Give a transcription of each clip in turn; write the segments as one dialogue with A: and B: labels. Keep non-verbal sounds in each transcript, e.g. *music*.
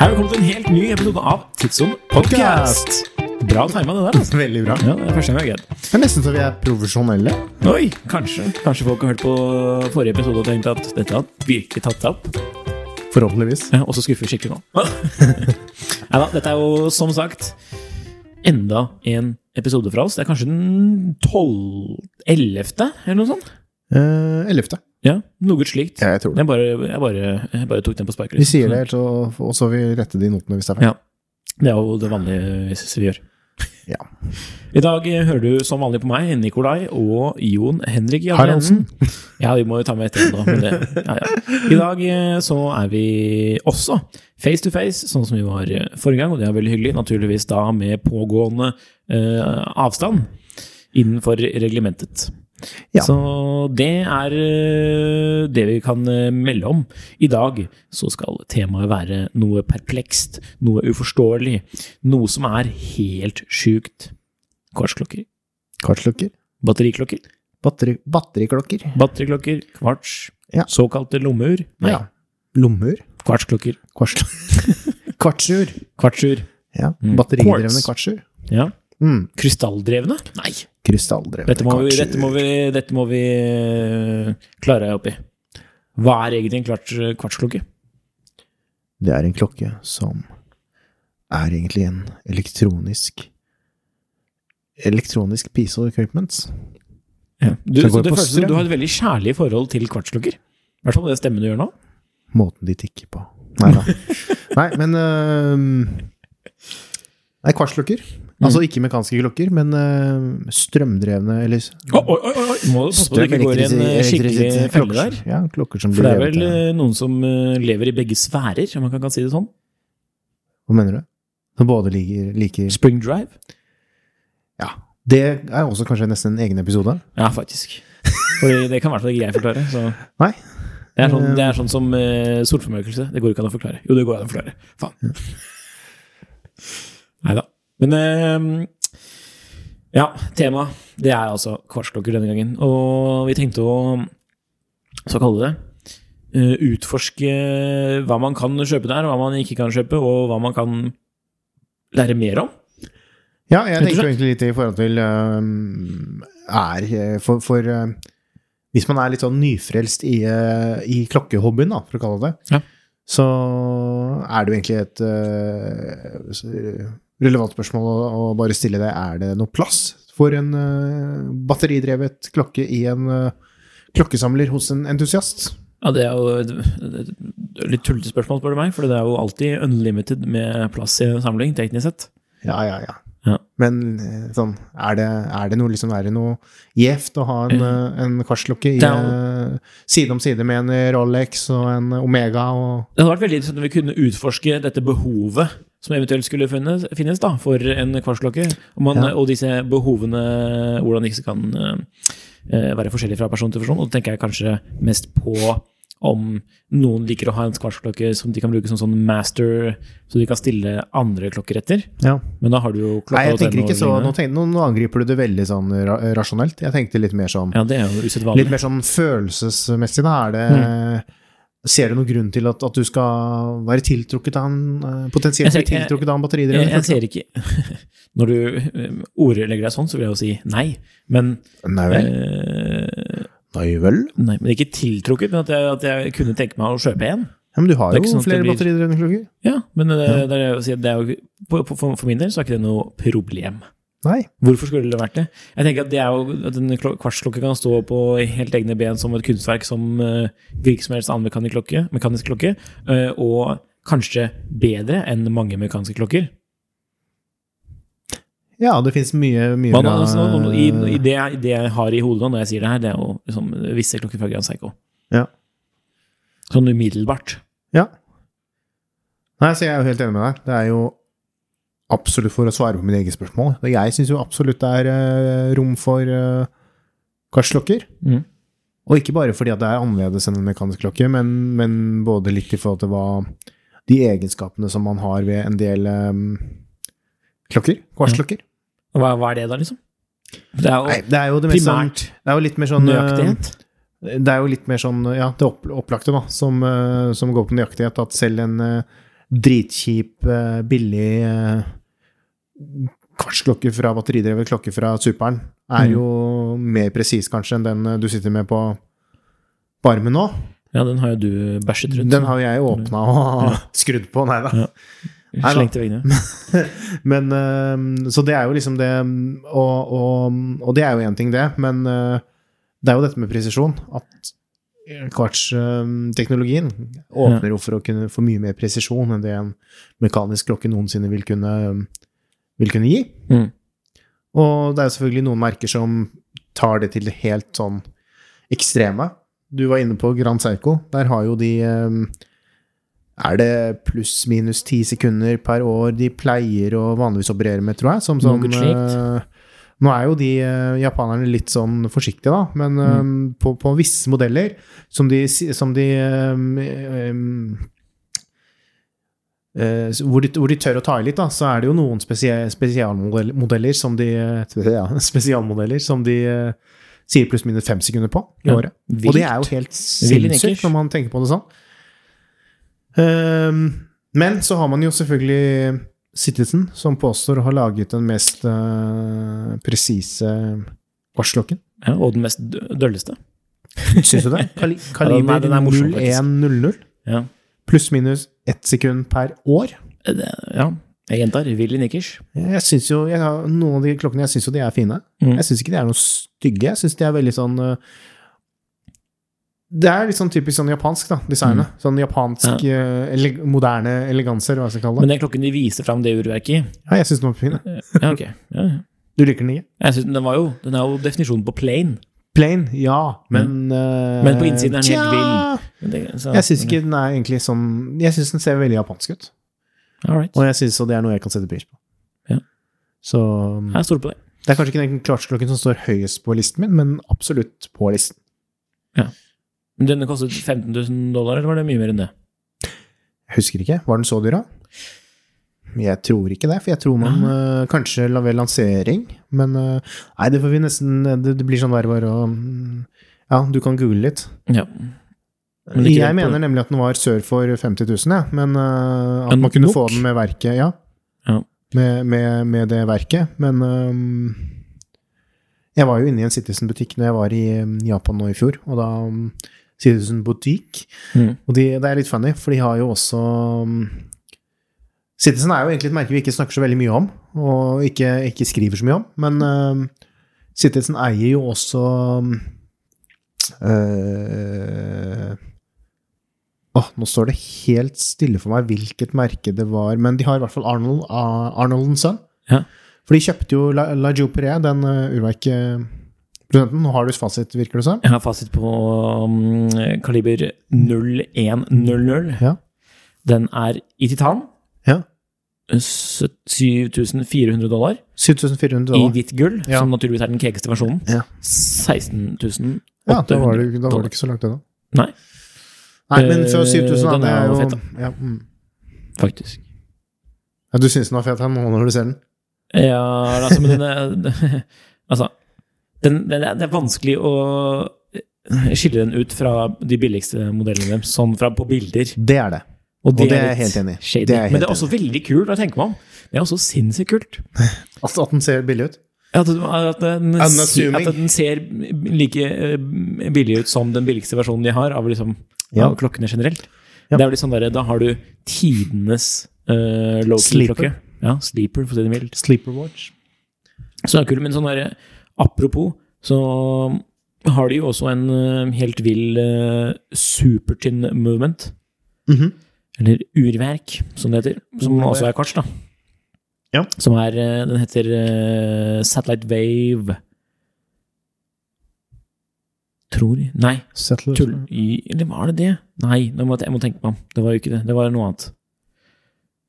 A: Hei, velkommen til en helt ny episode av Tidssonen podcast. Bra tima det der, altså.
B: Veldig bra.
A: Ja, det er første gang jeg har greid.
B: Det er nesten så vi er profesjonelle.
A: Oi, kanskje. Kanskje folk har hørt på forrige episode og tenkt at dette har virkelig tatt seg opp.
B: Forhåpentligvis.
A: Ja, Og så skuffer vi skikkelig nå. *laughs* Nei da, dette er jo som sagt enda en episode fra oss. Det er kanskje den 12. 11. eller noe sånt.
B: Eh, Ellevte.
A: Ja, noe slikt.
B: Ja, jeg tror det.
A: Jeg bare, jeg, bare, jeg bare tok den på sparket. liksom.
B: Vi sier det, helt, og og så har vi rette de notene hvis det er feil.
A: Ja. Det er jo det vanlige vi gjør.
B: Ja.
A: I dag eh, hører du som vanlig på meg, Nikolai og Jon Henrik
B: Haraldsen.
A: Jaglensen. Ja, vi må jo ta med etter nå. Men det, ja, ja. I dag eh, så er vi også face to face, sånn som vi var eh, forrige gang. Og det er veldig hyggelig. Naturligvis da med pågående eh, avstand innenfor reglementet.
B: Ja.
A: Så det er eh, det vi kan eh, melde om. I dag så skal temaet være noe perplekst, noe uforståelig, noe som er helt sjukt. Kvartsklokker,
B: Kartklokker.
A: batteriklokker,
B: Batteri, batteriklokker.
A: batteriklokker, kvarts,
B: Ja.
A: såkalte lommeur. Nei,
B: Ja. Lommeur.
A: kvartsklokker,
B: Kvarts... *laughs* Kvartsur.
A: kvartsur.
B: Ja.
A: Mm.
B: Batteridrevne
A: Quartz.
B: kvartsur.
A: Ja.
B: Mm.
A: Krystalldrevne? Nei,
B: Krystalldrevne
A: dette må, vi,
B: kvartsur.
A: dette, må vi, dette må vi eh, klare opp i. Hva er egentlig en kvarts, eh, kvartsklokke?
B: Det er en klokke som er egentlig en elektronisk Elektronisk piece of equipment.
A: Du,
B: Den
A: så
B: går
A: det
B: på
A: føles som
B: strøm.
A: du har et veldig kjærlig forhold til kvartsklokker. I hvert fall det stemmen du gjør nå.
B: Måten de tikker på. Nei
A: *laughs*
B: da. Nei, men øhm, Nei, kvartsklokker.
A: Mm.
B: Altså ikke mekanske klokker, men øhm, strømdrevne eller
A: Oi, oi, oi, oi. Må du passe på at du ikke går i en eh, skikkelig
B: elektrisitet-
A: felle
B: klokker.
A: der.
B: Ja, klokker som
A: For
B: blir
A: det er vel
B: revet.
A: eh, noen som eh, lever i begge sfærer, om man kan, kan si det sånn.
B: Hva mener du? Som både liker, liker
A: Spring drive.
B: Ja. Det er også kanskje nesten en egen episode.
A: Ja, faktisk. Fordi det kan i hvert fall ikke jeg forklare. Så.
B: Nei.
A: Det er sånn, det er sånn som uh, solformørkelse. Det går ikke an å forklare. Jo, det går an å forklare. Faen. Nei da. Men eh, ja, temaet det er altså kvartsklokker denne gangen. Og vi tenkte å så kalle det eh, utforske hva man kan kjøpe der, hva man ikke kan kjøpe, og hva man kan lære mer om.
B: Ja,
A: Rett og
B: jeg tenker jo
A: slett.
B: egentlig litt i forhold til øhm, er eh, For, for eh, hvis man er litt sånn nyfrelst i, eh, i klokkehobbyen, da, for å kalle det det,
A: Ja.
B: så er det jo egentlig et eh, s- relevant spørsmål å, å bare stille det. Er det noe plass for en eh, batteridrevet klokke i en eh, klokkesamler hos en entusiast?
A: Ja, det er jo et, et, et litt tullete spørsmål, spør du meg. For det er jo alltid unlimited med plass i en samling, teknisk sett.
B: Ja, ja, ja.
A: Ja.
B: Men eh, sånn, er det, er det noe liksom, er det noe gjevt å ha en, eh, en kvartslokke i,
A: Det er
B: eh, side om side med en Rolex og en Omega og
A: Det hadde vært veldig interessant om vi kunne utforske dette behovet som eventuelt skulle finnes, finnes da, for en kvartsklokke. Og, man,
B: Ja.
A: og disse behovene, hvordan disse kan eh, være forskjellige fra person til person. Og da tenker jeg kanskje mest på om noen liker å ha en kvartsklokke som de kan bruke som sånn master, så de kan stille andre klokker etter.
B: ja.
A: Men da har du jo klokka
B: Nei, jeg
A: og
B: tenker
A: den og
B: ikke så
A: lignende.
B: nå, tenk- nå, nå angriper du det veldig sånn ra rasjonelt. Jeg tenkte litt mer sånn,
A: Ja, det Mm. er jo usedvanlig.
B: litt mer sånn følelsesmessig. Da. Er det, Ser du noen grunn til at, at du skal være tiltrukket av en, eh, potensielt
A: Jeg ser-
B: bli tiltrukket av en
A: Jeg, jeg
B: batteridrevet?
A: ser ikke *laughs* Når du eh, ordlegger deg sånn, så vil jeg jo si nei. Men,
B: Nei vel.
A: eh,
B: Nei vel.
A: nei, men ikke tiltrukket, men at jeg, at jeg kunne tenke meg å kjøpe en.
B: Ja, men du har
A: Det er
B: jo
A: ikke sånn at det
B: flere
A: blir-
B: batteridrevne klokker.
A: Ja, men eh, det er, det jeg sier, det er jo, på, på, for for min del så er ikke det noe problem.
B: Nei.
A: Hvorfor skulle det vært det? Jeg tenker at det er jo at en klo- kvartsklokke kan stå på helt egne ben som et kunstverk som eh, hvilken som helst annen mekanisk klokke, mekanisk klokke eh, og kanskje bedre enn mange mekaniske klokker.
B: Ja, det fins mye, mye
A: Man,
B: bra
A: altså, nå- nå- i, i det, jeg- det jeg har i hodet nå når jeg sier det her, det er jo liksom, visse klokker fra Grand Psycho.
B: Ja.
A: Sånn umiddelbart.
B: Ja. Nei, så jeg er jo helt enig med deg. Det er jo absolutt for å svare på mine egne spørsmål. Jeg syns jo absolutt det er eh, rom for uh, kvartslokker.
A: Mhm.
B: Og ikke bare fordi at det er annerledes enn en mekanisk klokke, men, men både litt i forhold til hva de egenskapene som man har ved en del eh, klokker. Kvartsklokker.
A: Hva, hva er det da, liksom? Det er jo
B: Nei, det er jo det mest sånn
A: primært
B: Det er jo litt mer sånn eh,
A: nøyaktighet.
B: Det er jo litt mer sånn, ja, det opp- opplagte da, som, eh, som går på nøyaktighet, at selv en eh, dritkjip, eh, billig eh, kvartsklokke fra batteridrevet klokke fra Superen er
A: Mm.
B: jo mer presis kanskje enn den eh, du sitter med på på armen nå.
A: Ja, den har jo du bæsjet rundt. sånn.
B: Den har jo jeg åpna og *laughs* skrudd på, nei da.
A: Ja. Slengt i veggene.
B: Men eh, Så det er jo liksom det Og, og, og det er jo én ting, det, men eh, det er jo dette med presisjon. At kvartsteknologien åpner jo for å kunne få mye mer presisjon enn det en mekanisk klokke noensinne vil kunne, ehm, vil kunne gi.
A: Mm.
B: Og det er jo selvfølgelig noen merker som tar det til det helt sånn ekstreme. Du var inne på Grand Seiko. Der har jo de eh, Er det pluss-minus ti sekunder per år de pleier å vanligvis operere med, tror jeg? Som sånn
A: Noe slikt.
B: eh, Nå er jo de eh, japanerne litt sånn forsiktige, da, men
A: Mm.
B: eh, på, på visse modeller som de, si- som de eh, eh, Eh, så hvor, de, hvor de tør å ta i litt, da, så er det jo noen spesie- spesialmodeller som de, ja, *laughs* spesialmodeller som de eh, sier pluss-minus fem sekunder på i
A: Ja,
B: året. Og det er jo helt
A: nikkers.
B: sinnssykt når man tenker på det sånn. Ehm, men så har man jo selvfølgelig Citizen, som påstår å ha laget den mest eh, presise varselklokken.
A: Ja, og den mest dø- dølleste.
B: Syns du det? Kali
A: nei,
B: Kaliber
A: den er morsom, faktisk.
B: 0100.
A: Ja.
B: Pluss-minus ett sekund per år.
A: Det, ja. Jeg gjentar, Willy Nikkers.
B: Jeg synes jo, jeg har, Noen av de klokkene jeg syns jo de er fine.
A: Mm.
B: Jeg syns ikke de er noe stygge. Jeg syns de er veldig sånn øh, Det er litt sånn typisk sånn japansk, da,
A: Mm.
B: designet. Sånn japansk, øh, ele moderne eleganse, eller hva jeg skal kalle det.
A: Men den klokken de viser fram det urverket i
B: Ja, jeg syns den var fin. jeg.
A: Ja, ok. Ja, ja.
B: Du liker den ikke?
A: Jeg synes den, var jo, den er jo definisjonen på plain.
B: Plain, ja, men øh,
A: Mm. Men på innsiden er den helt
B: tja,
A: vill. Men det- så-
B: Jeg syns ikke den er egentlig sånn Jeg syns den ser veldig japansk ut.
A: All right.
B: Og jeg syns det er noe jeg kan sette pris på.
A: Ja.
B: Så um,
A: Jeg stoler på det.
B: Det er kanskje ikke den klartsklokken som står høyest på listen min, men absolutt på listen.
A: Men denne kostet 15 000 dollar, eller var det mye mer enn det?
B: Jeg husker ikke. Var den så dyr, da? Jeg tror ikke det, for jeg tror man øh, kanskje la ved lansering, men øh, Nei, det får vi nesten Det, det blir sånn der bare å mm, Ja, du kan google litt.
A: Ja. Men ikke
B: jeg
A: den på-
B: mener nemlig at den var sør for 50 000, ja, men øh, at
A: Men
B: man kunne
A: nok?
B: få den med verket, ja.
A: Ja.
B: Med, med, med det verket, men øhm, Jeg var jo inne i en Citizen-butikk når jeg var i øhm, Japan nå i fjor, og da mm, øhm, Citizen Butikk
A: Mm.
B: og de, det er litt funny, for de har jo også mm, Citizen er jo egentlig et merke vi ikke snakker så veldig mye om, og ikke, ikke skriver så mye om, men mm, Citizen eier jo også mm, eh, Åh, nå står det helt stille for meg hvilket merke det var, men de har i hvert fall Arnold, uh, Arnold Son.
A: Ja.
B: For de kjøpte jo La, La Jopere, den uh, urverkprodusenten. Nå har du fasit, virker det som.
A: Jeg har fasit på um, kaliber 0100.
B: Ja.
A: Den er i titan.
B: Ja.
A: Eh, sytt- 7400 dollar.
B: 7400
A: I
B: dollar.
A: hvitt gull,
B: Ja.
A: som naturligvis er den krekeste versjonen.
B: Ja.
A: 16 000.
B: Ja, da var du,
A: 800
B: da var
A: dollar.
B: du ikke så langt unna.
A: Nei,
B: Nei, men før
A: Eh,
B: 7000, da.
A: den
B: Det
A: er
B: er
A: jo
B: jo
A: fett, da.
B: ja, mm.
A: faktisk.
B: ja, Du syns den var fet her nå når du ser den?
A: Ja, altså, men den er *laughs* Altså, den, den er, det er vanskelig å eh, skille den ut fra de billigste modellene deres, sånn fra på bilder.
B: Det er det.
A: Og
B: det er jeg
A: litt
B: helt enig i.
A: shady.
B: Det er jeg
A: men
B: helt
A: det er også veldig kult, når jeg tenker meg om. Det er også sinnssykt kult.
B: Altså At den ser billig ut?
A: At den, at, den,
B: Unassuming.
A: at den ser like eh, billig ut som den billigste versjonen de har av, liksom,
B: Ja.
A: av klokkene generelt.
B: Ja.
A: Det er jo litt sånn der, Da har du tidenes uh,
B: Sleeper.
A: low-key-klokke. Ja, sleeper, for å si det mildt.
B: Sleeper watch.
A: Så det er kult, men sånn der, apropos, så har de jo også en eh, helt vill eh, supertynn movement,
B: Mhm.
A: eller urverk, som det heter, som
B: Urverk.
A: også er kvarts, da.
B: Ja.
A: Som er, eh, den heter eh, Satellite Wave. Tror jeg. Nei,
B: Settlers.
A: tull... i- Eller var det det? Nei, nå må jeg- jeg må tenke meg om. Det var jo ikke det. Det var noe annet.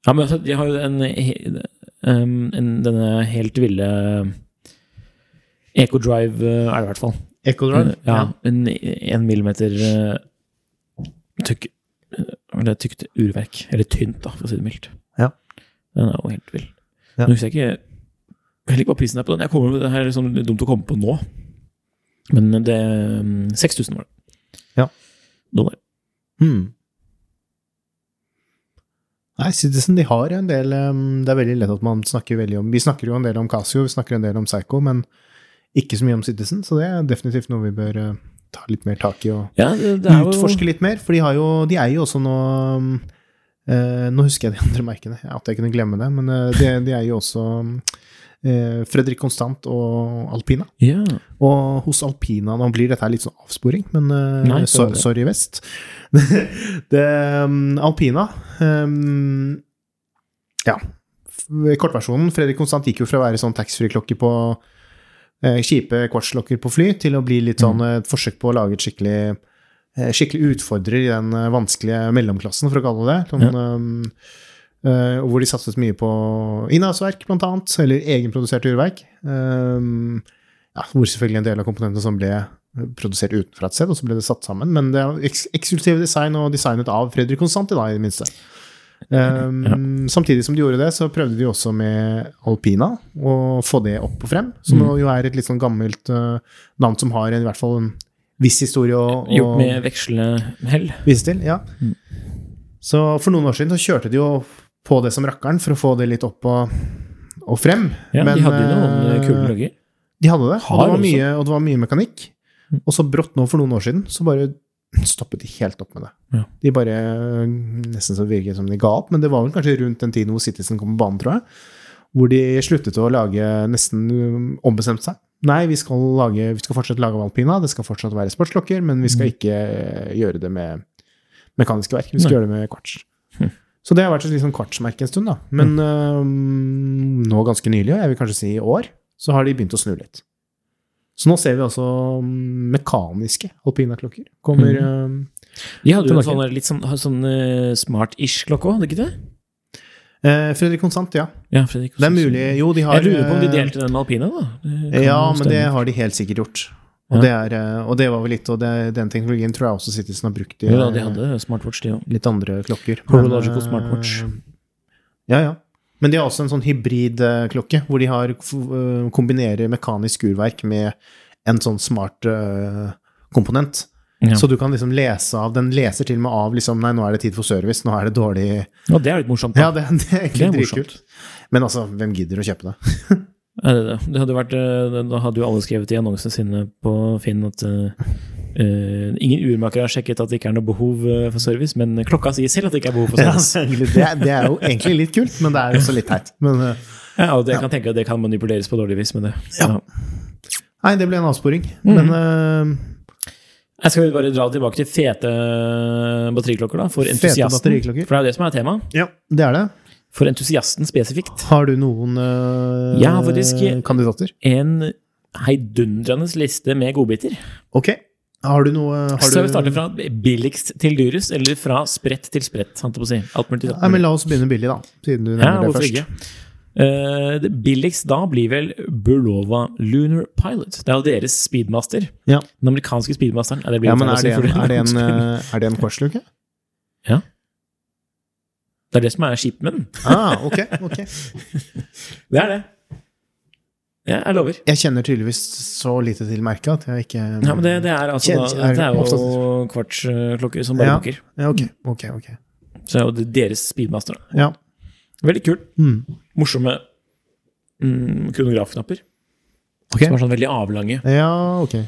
A: Ja, men altså, de har jo en, he- um, en denne helt ville EcoDrive eh, er det i hvert fall.
B: Ecodrive?
A: Ja, En en millimeter eh, tykk eh, Eller tykt urverk. Eller tynt, da, for å si det mildt.
B: Ja.
A: Den er jo helt vill.
B: Ja.
A: Nå husker jeg ikke heller ikke hva prisen er på den. Jeg kommer, det her er liksom litt dumt å komme på nå, men det mm, 6000 var det.
B: Ja.
A: Dollar.
B: Hmm. Nei, Citizen de har en del ehm, Det er veldig lett at man snakker veldig om Vi snakker jo en del om Casio, vi snakker en del om Psycho, men ikke så mye om Citizen, så det er definitivt noe vi bør eh, ta litt mer tak i og
A: Ja, det, det er jo
B: utforske litt mer. For de, har jo, de eier jo også nå eh, Nå husker jeg de andre merkene, at jeg kunne glemme det, men eh, de, de eier jo også eh, Fredrik Konstant og Alpina.
A: Ja.
B: Og hos Alpina Nå blir dette her litt sånn avsporing, men eh,
A: Nei, det
B: so-
A: var det.
B: sorry, Vest. *laughs* det, um, Alpina um, Ja. F- Kortversjonen. Fredrik Konstant gikk jo fra å være sånn taxfree-klokke på eh, kjipe kvartslokker på fly, til å bli litt
A: Mm.
B: sånn eh, et forsøk på å lage et skikkelig eh, skikkelig utfordrer i den eh, vanskelige mellomklassen, for å kalle det det. Sånn, um, eh, og hvor de satset mye på innhavsverk, blant annet, eller egenproduserte urverk. Um, ja, hvor selvfølgelig en del av komponentene som ble eh, produsert utenfra et sted, og så ble det satt sammen. Men det er eks eksklusiv design og designet av Fredrik Constanti, da, i det minste. Um, Samtidig som de gjorde det, så prøvde de også med Alpina å få det opp og frem. Som
A: Mm.
B: jo er et litt sånn gammelt eh, navn som har en, i hvert fall en viss historie å å
A: Gjort med vekslende hell.
B: vise til. Ja.
A: Mm.
B: Så for noen år siden så kjørte de jo på det som rakkeren for å få det litt opp og, og frem.
A: Ja,
B: Men,
A: de hadde jo noen eh, kule
B: eh,
A: logger.
B: de hadde det, og
A: Har
B: det, var
A: også. Mm.
B: mye, og det var mye mekanikk. Og så brått nå for noen år siden, så bare stoppet de helt opp med det.
A: Ja.
B: De bare Nesten så virket det som de ga opp, men det var vel kanskje rundt den tiden hvor Citizen kom på banen, tror jeg. Hvor de sluttet å lage Nesten um, ombestemte seg. Nei, vi skal, lage, vi skal fortsatt lage Valpina, det skal fortsatt være sportsklokker, men vi skal ikke eh, gjøre det med mekaniske verk. Vi skal
A: Mm. Nei. Hm.
B: gjøre det med kvarts. Så det har vært et litt sånn kvartsmerke en stund, da. Men øhm, nå ganske nylig, og jeg vil kanskje si i år, så har de begynt å snu litt. Så nå ser vi altså øhm, mekaniske alpinaklokker kommer
A: Mm.
B: øhm,
A: De hadde jo en
B: tilbake.
A: sånn, der litt sånn, sånn eh, smart-ish klokke òg, hadde de ikke det?
B: eh, Fredrik Konstant, ja.
A: Ja, Fredrik.
B: Det er mulig Jo, de har
A: jeg lurer på om de
B: eh,
A: delte den med alpina, da. Det kan
B: Ja,
A: jo
B: men det
A: stemme.
B: har de helt sikkert gjort. Og,
A: Ja.
B: det, er, eh, og det var vel litt Og det, den teknologien tror jeg også Citizen har brukt i
A: Jo da, de
B: eh,
A: hadde smartwatch, de òg.
B: litt andre klokker.
A: Horological
B: eh,
A: smartwatch.
B: Ja, ja. Men de har også en sånn hybridklokke, hvor de har, f- eh, kombinerer mekanisk urverk med en sånn smart eh, komponent.
A: Ja.
B: Så du kan liksom lese av Den leser til og med av liksom Nei, nå er det tid for service. Nå er det dårlig
A: Ja, det er litt morsomt.
B: Ja,
A: Da.
B: det, *laughs* det er
A: det
B: egentlig
A: er
B: dritkult.
A: morsomt.
B: Men altså, hvem gidder å kjøpe
A: *laughs*
B: det?
A: Ja, det, er det. det hadde jo vært, eh, da hadde jo alle skrevet i annonsene sine på Finn at eh, eh, ingen urmakere har sjekket at det ikke er noe behov eh, for service, men klokka sier selv at det ikke er behov for
B: Ja,
A: service.
B: egentlig, Altså, det, er- det er jo egentlig litt kult, men det er også litt teit. Men eh,
A: Ja, og det, jeg kan tenke at det kan manipuleres på dårlig vis, men det ja.
B: Nei, det ble en avsporing.
A: Mm.
B: Men eh,
A: Jeg skal bare dra tilbake til fete eh, batteriklokker, da, for
B: Fete
A: entusiasten.
B: batteriklokker.
A: For det er jo det som er temaet.
B: ja, det er det.
A: For entusiasten spesifikt.
B: Har du noen eh,
A: Jeg har faktisk-
B: kandidater?
A: En heidundrende liste med godbiter.
B: Ok. Har du noe har
A: Så vi
B: du-
A: starter fra billigst til dyrest, eller fra spredt til spredt. Sant å si. Alt mulig til alt
B: Nei, men
A: mulig.
B: La oss begynne billig, da. Siden du
A: Ja,
B: nevner det
A: hvorfor
B: først.
A: ikke? Eh, det billigst da blir vel Bulova Lunar Pilot. Det er jo deres speedmaster.
B: Ja.
A: Den amerikanske speedmasteren. Ja, det blir
B: Ja,
A: feil å
B: men er
A: si,
B: det en,
A: for
B: er det
A: *laughs*
B: en, eh, er det en kortsluke?
A: Det er det som er skipmen.
B: Ah, ok, ok.
A: Det er det. Ja, jeg lover.
B: Jeg kjenner tydeligvis så lite til merket at jeg ikke
A: Ja, men det, det er altså
B: Kjent-
A: da,
B: er-
A: Det er jo
B: oppstått.
A: kvartsklokker som bare
B: Ja.
A: bukker.
B: Ja, ok, ok. ok.
A: Så det er jo det- deres speedmaster. da.
B: Ja.
A: Veldig kult.
B: Mm.
A: Morsomme mm, kronografknapper.
B: Ok.
A: Som er sånn veldig avlange.
B: ja, ok.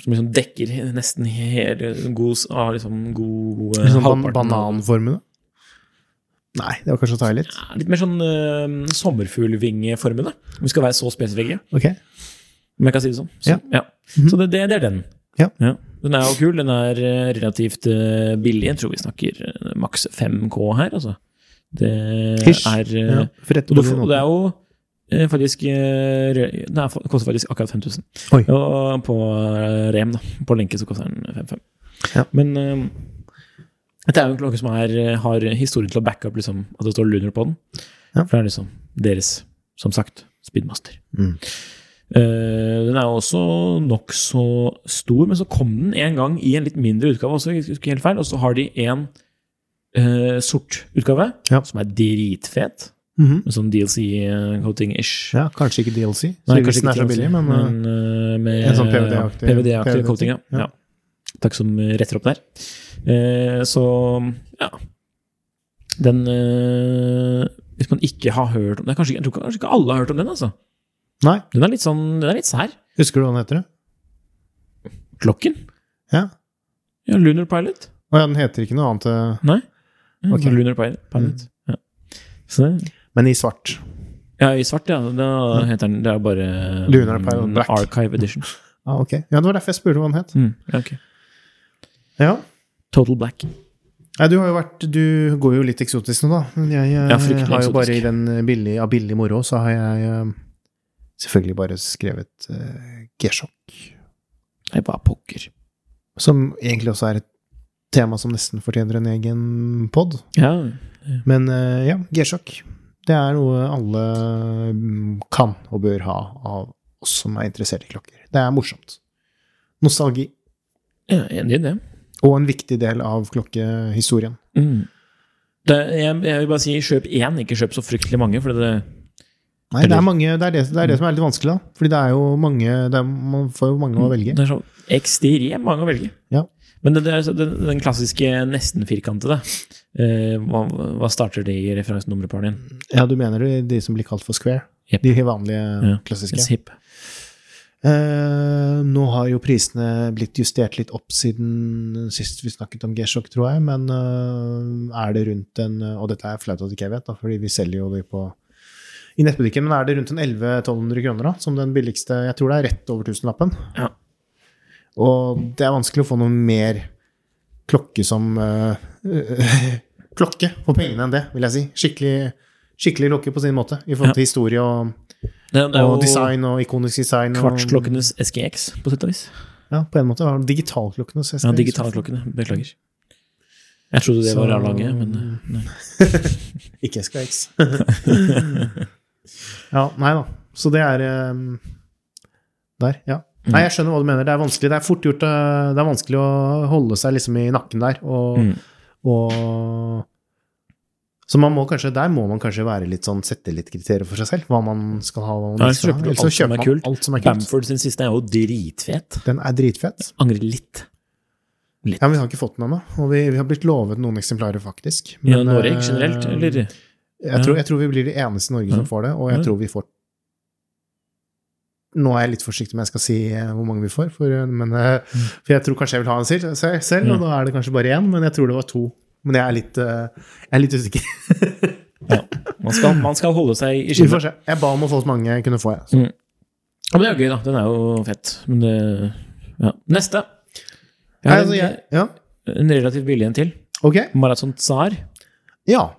A: Som liksom dekker nesten hele god, ah, liksom god eh,
B: Litt sånn ban
A: halvparten av-
B: bananformede? Nei, det var kanskje å ta i litt.
A: Ja, Litt mer sånn uh, sommerfuglvingeformede. Om Vi skal være så spesifikke,
B: Ok.
A: om jeg kan si det sånn. Så,
B: Ja. Mhm.
A: så det, det, det er den.
B: Ja.
A: Den er jo kul. Den er eh, relativt eh, billig. Jeg tror vi snakker eh, maks 5K her, altså. Det
B: Hysj.
A: er eh,
B: Ja, for dette
A: Og du,
B: blir
A: får-
B: noe.
A: og det er jo eh, faktisk eh, re- Den er fa- koster faktisk akkurat 5000.
B: Oi.
A: Og på eh, Rem, da. På lenke så koster den 55.
B: Ja.
A: Men eh, dette er jo en klokke som er, eh, har historien til å backe opp liksom, at det står Lunar på den.
B: Ja.
A: For det er liksom deres, som sagt, speedmaster.
B: Mm.
A: Eh, den er jo også nokså stor, men så kom den en gang i en litt mindre utgave også, hvis jeg husker helt feil, og så har de en eh, sort utgave,
B: Ja.
A: som er dritfet.
B: Mhm.
A: Med sånn DLC-coating-ish.
B: Ja, kanskje ikke DLC, siden den er så billig, men eh,
A: eh, med
B: en sånn PVD-aktig-
A: PVD-aktig
B: PVD-ting,
A: coating, ja.
B: ja.
A: ja. Takk som retter opp der. Eh, så ja. Den eh, Hvis man ikke har hørt om den kanskje, ikke- Jeg tror kanskje ikke alle har hørt om den, altså.
B: Nei.
A: Den er litt sånn, den er litt sær.
B: Husker du hva den heter? da?
A: Klokken?
B: Ja.
A: Ja, Lunar Pilot.
B: Å ja, den heter ikke noe annet. eh,
A: Nei. Ja,
B: Ok.
A: Lunar Pilot. Pilot. Ja. Så det,
B: Men i svart.
A: ja, i svart, ja. Da heter den Det er bare um,
B: Lunar Pilot Black.
A: Archive Edition.
B: Ah, ok. Ja, det var derfor jeg spurte hva den het.
A: Mm, ja, ok.
B: Ja.
A: Total Black.
B: Nei, du har jo vært Du går jo litt eksotisk nå, da. Men jeg, eh,
A: Ja, fryktelig
B: har jo
A: eksotisk.
B: bare i den eh, billig, av billig moro, så har jeg eh, selvfølgelig bare skrevet eh, G-sjokk.
A: Nei, hva pokker.
B: Som egentlig også er et tema som nesten fortjener en egen pod.
A: Ja.
B: Men eh, ja, G-sjokk. Det er noe alle mm, kan og bør ha av oss som er interessert i klokker. Det er morsomt. Nostalgi.
A: ja enig i det.
B: Og en viktig del av klokkehistorien.
A: Mm. Det, jeg, jeg vil bare si kjøp én, ikke kjøp så fryktelig mange. For det,
B: Nei, det er, mange, det, er det, det er det som er litt vanskelig, da. Fordi det er jo mange det er, Man får jo mange å velge.
A: det er så ekstremt mange å velge.
B: Ja.
A: Men det, det er så- den, den klassiske nesten-firkantede eh, hva, hva starter det i referansenummeret din?
B: Ja, du mener jo de som blir kalt for square?
A: Jep.
B: De vanlige, klassiske?
A: Yes, hip.
B: Eh, nå har jo prisene blitt justert litt opp siden sist vi snakket om G-sjokk, tror jeg. Men eh, er det rundt en Og dette er flaut at ikke jeg vet, da, fordi vi selger jo de på i nettbutikken. Men er det rundt en 1100-1200 kroner, da? Som den billigste Jeg tror det er rett over tusenlappen.
A: Ja.
B: Og det er vanskelig å få noe mer klokke som eh, *laughs* Klokke for pengene enn det, vil jeg si. Skikkelig, skikkelig klokke på sin måte. I forhold til historie og,
A: Det, det er
B: og
A: jo
B: design og ikonisk design. og-
A: kvartsklokkenes SGX, på sett og vis.
B: ja, på en måte. var det Digitalklokkene. så jeg
A: Ja,
B: skal-
A: digitalklokkene. Beklager. Jeg trodde det
B: Så- Mm.
A: var A-laget, men eh, nei.
B: Ikke SKX. *laughs* ja, nei da. Så det er um, Der, ja.
A: Mm.
B: Nei, jeg skjønner hva du mener. Det er vanskelig. Det er fort gjort. eh, Det er vanskelig å holde seg liksom i nakken der. Og,
A: Mm.
B: og så man må kanskje, der må man kanskje være litt sånn, sette litt kriterier for seg selv. Hva man skal ha. Hva man
A: Ja,
B: ikke
A: så
B: skal ha.
A: kjøper du
B: Ellers
A: alt som er
B: man
A: kult.
B: alt som er kult.
A: Bamford sin siste er jo dritfet.
B: Den er dritfett.
A: Angrer litt.
B: Ja, men Vi har ikke fått den ennå. Og vi, vi har blitt lovet noen eksemplarer, faktisk.
A: I
B: Men,
A: Norge
B: eh,
A: generelt, eller?
B: Jeg, tror, jeg tror vi blir de eneste i Norge som
A: Ja.
B: får det, og jeg
A: Ja.
B: tror vi får Nå er jeg litt forsiktig med jeg skal si eh, hvor mange vi får, for, eh, men, eh,
A: Mm.
B: for jeg tror kanskje jeg vil ha en selv, se- selv og da er det kanskje bare én, men jeg tror det var to. Men jeg er litt, eh, jeg er litt usikker.
A: Ja. Man, *laughs* skal, man skal holde seg i
B: Vi
A: skinnet.
B: får se. Jeg ba om å få så mange jeg kunne få, jeg.
A: Ja, men det er jo gøy, da. Den er jo fett. Men det ja. Neste. Jeg
B: Nei,
A: har
B: altså, jeg ja.
A: en, en relativt billig en til.
B: Ok.
A: Maraton Tsar.
B: Ja.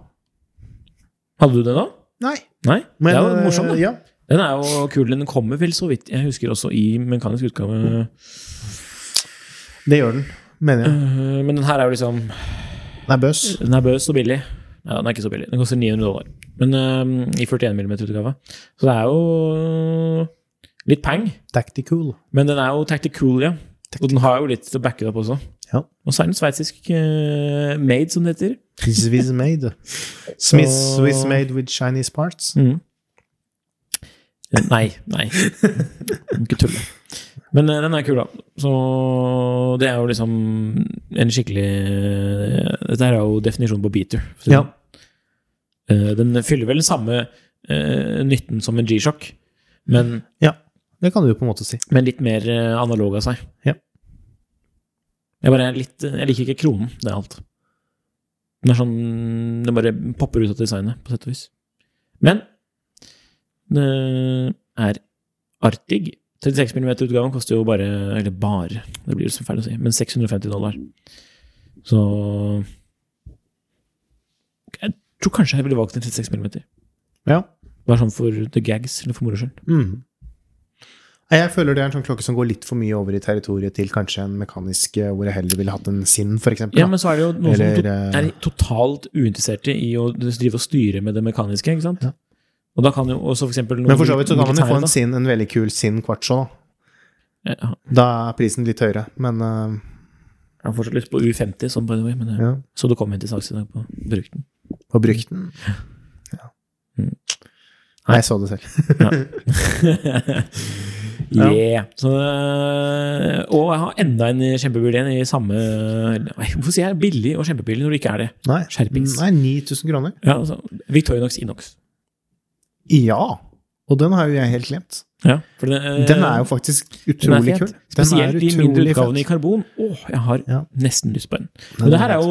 A: Hadde du den da?
B: Nei.
A: Nei? det er jo
B: eh,
A: morsomt, da.
B: Ja.
A: Den er jo kul. Den kommer vel så vidt jeg husker også i mekanisk
B: Mm.
A: utgave.
B: Det gjør den, mener jeg.
A: Øh, Men den her er jo liksom
B: Den er bøs.
A: Den er bøs og billig. Ja, den er ikke så billig. Den koster 900 dollar. Men øhm, i 41 mm-utgave. Så det er jo øh, litt peng.
B: Tactical.
A: Men den er jo tactical, ja. Og den har jo litt å backe det opp også.
B: Ja.
A: Og så er den sveitsisk øh, made, som det heter. *laughs*
B: Swiss made. Smith Swiss made with Chinese parts.
A: Mhm. Nei. Nei. Må Ikke tulle. Men eh, den er kul, da. Så det er jo liksom en skikkelig eh, Dette her er jo definisjonen på beater. for å si
B: Ja.
A: det. sånn. Eh, Den fyller vel den samme eh, nytten som en G-sjokk, men,
B: Ja. Det kan du jo på en måte si.
A: men litt mer eh, analog av seg.
B: Ja.
A: Jeg bare er litt Jeg liker ikke kronen, det er alt. Den er sånn Den bare popper ut av designet, på sett og vis. Men det er artig. 36 mm-utgaven koster jo bare Eller bare, det blir jo så feil å si, men 650 dollar. Så Jeg tror kanskje jeg ville valgt en 36 mm.
B: Ja.
A: Bare sånn for the gags, eller for moro skyld.
B: Mm. Nei, Jeg føler det er en sånn klokke som går litt for mye over i territoriet til kanskje en mekanisk eh, hvor jeg heller ville hatt en Sinn, for eksempel.
A: Ja,
B: da.
A: men så er det jo noen
B: Eller, eh,
A: som to er totalt uinteresserte i å drive og styre med det mekaniske, ikke sant?
B: Ja.
A: Og da kan jo også for eksempel noen
B: men for så vidt så kan man jo
A: militære,
B: få en Sinn, en veldig kul Sinn kvarts òg.
A: da. Ja,
B: Da er prisen litt høyere, men eh,
A: Jeg har fortsatt lyst på U50, sånn by the way, men jeg
B: ja,
A: så det kom inn til salgs i dag på brukten. *laughs*
B: på brukt den. Ja.
A: Mm.
B: Nei, jeg så det selv. *laughs* Ja.
A: Yeah. Så, øh, og jeg har enda en kjempebil igjen i samme Nei, Hvorfor sier jeg billig og kjempebil når det ikke er det?
B: Nei,
A: Skjerpings.
B: Nei, 9000 kroner.
A: Ja, altså, Victorinox Inox.
B: Ja! Og den har jo jeg helt glemt.
A: Ja, for det, øh,
B: Den er jo faktisk
A: den er
B: utrolig
A: fet.
B: kul. Den
A: Spesielt
B: er
A: de mindre
B: utrolig
A: utgavene i
B: fet.
A: karbon. Åh, jeg har
B: Ja.
A: nesten lyst på en.
B: Den
A: Men det her er jo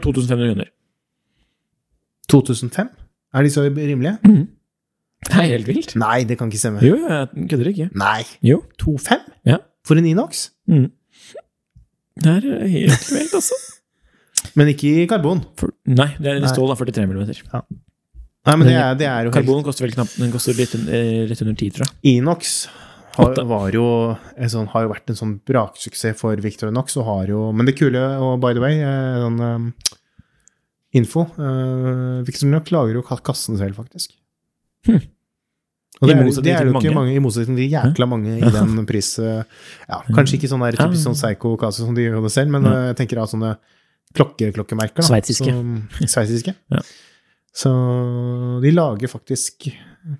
A: 2500 kroner.
B: 2005? Er de så rimelige?
A: Det er helt vilt.
B: Nei, det kan ikke stemme.
A: Jo, jeg kødder ikke.
B: Nei!
A: Jo.
B: 2,5?
A: Ja.
B: For en Inox?
A: Mm. Det er helt vilt, altså.
B: Men ikke i karbon.
A: For, nei, det er
B: Nei.
A: stål av 43 mm.
B: Nei, men det er, det er jo helt
A: Karbon koster vel knapt Den koster litt, un- eh, litt under 10, tror jeg.
B: Inox har,
A: Åtte.
B: var jo, en sånn, har jo vært en sånn braksuksess for Victor Inox. Og har jo, men det kule, og by the way, eh, sånn ehm, info eh, Victor Inox lager jo ka- kassene selv, faktisk.
A: Hm.
B: Og det
A: I
B: er,
A: motsetning
B: det er
A: til
B: jo ikke
A: mange.
B: mange, i motsetning til jækla mange i
A: *laughs*
B: den pris... eh, Ja, kanskje ikke sånn der typisk sånn psycho-kasse som de gjør det selv, men
A: Ja.
B: eh, jeg tenker av sånne klokkeklokkemerker. da,
A: Sveitsiske. *laughs*
B: som- Sveitsiske.
A: Ja.
B: Så de lager faktisk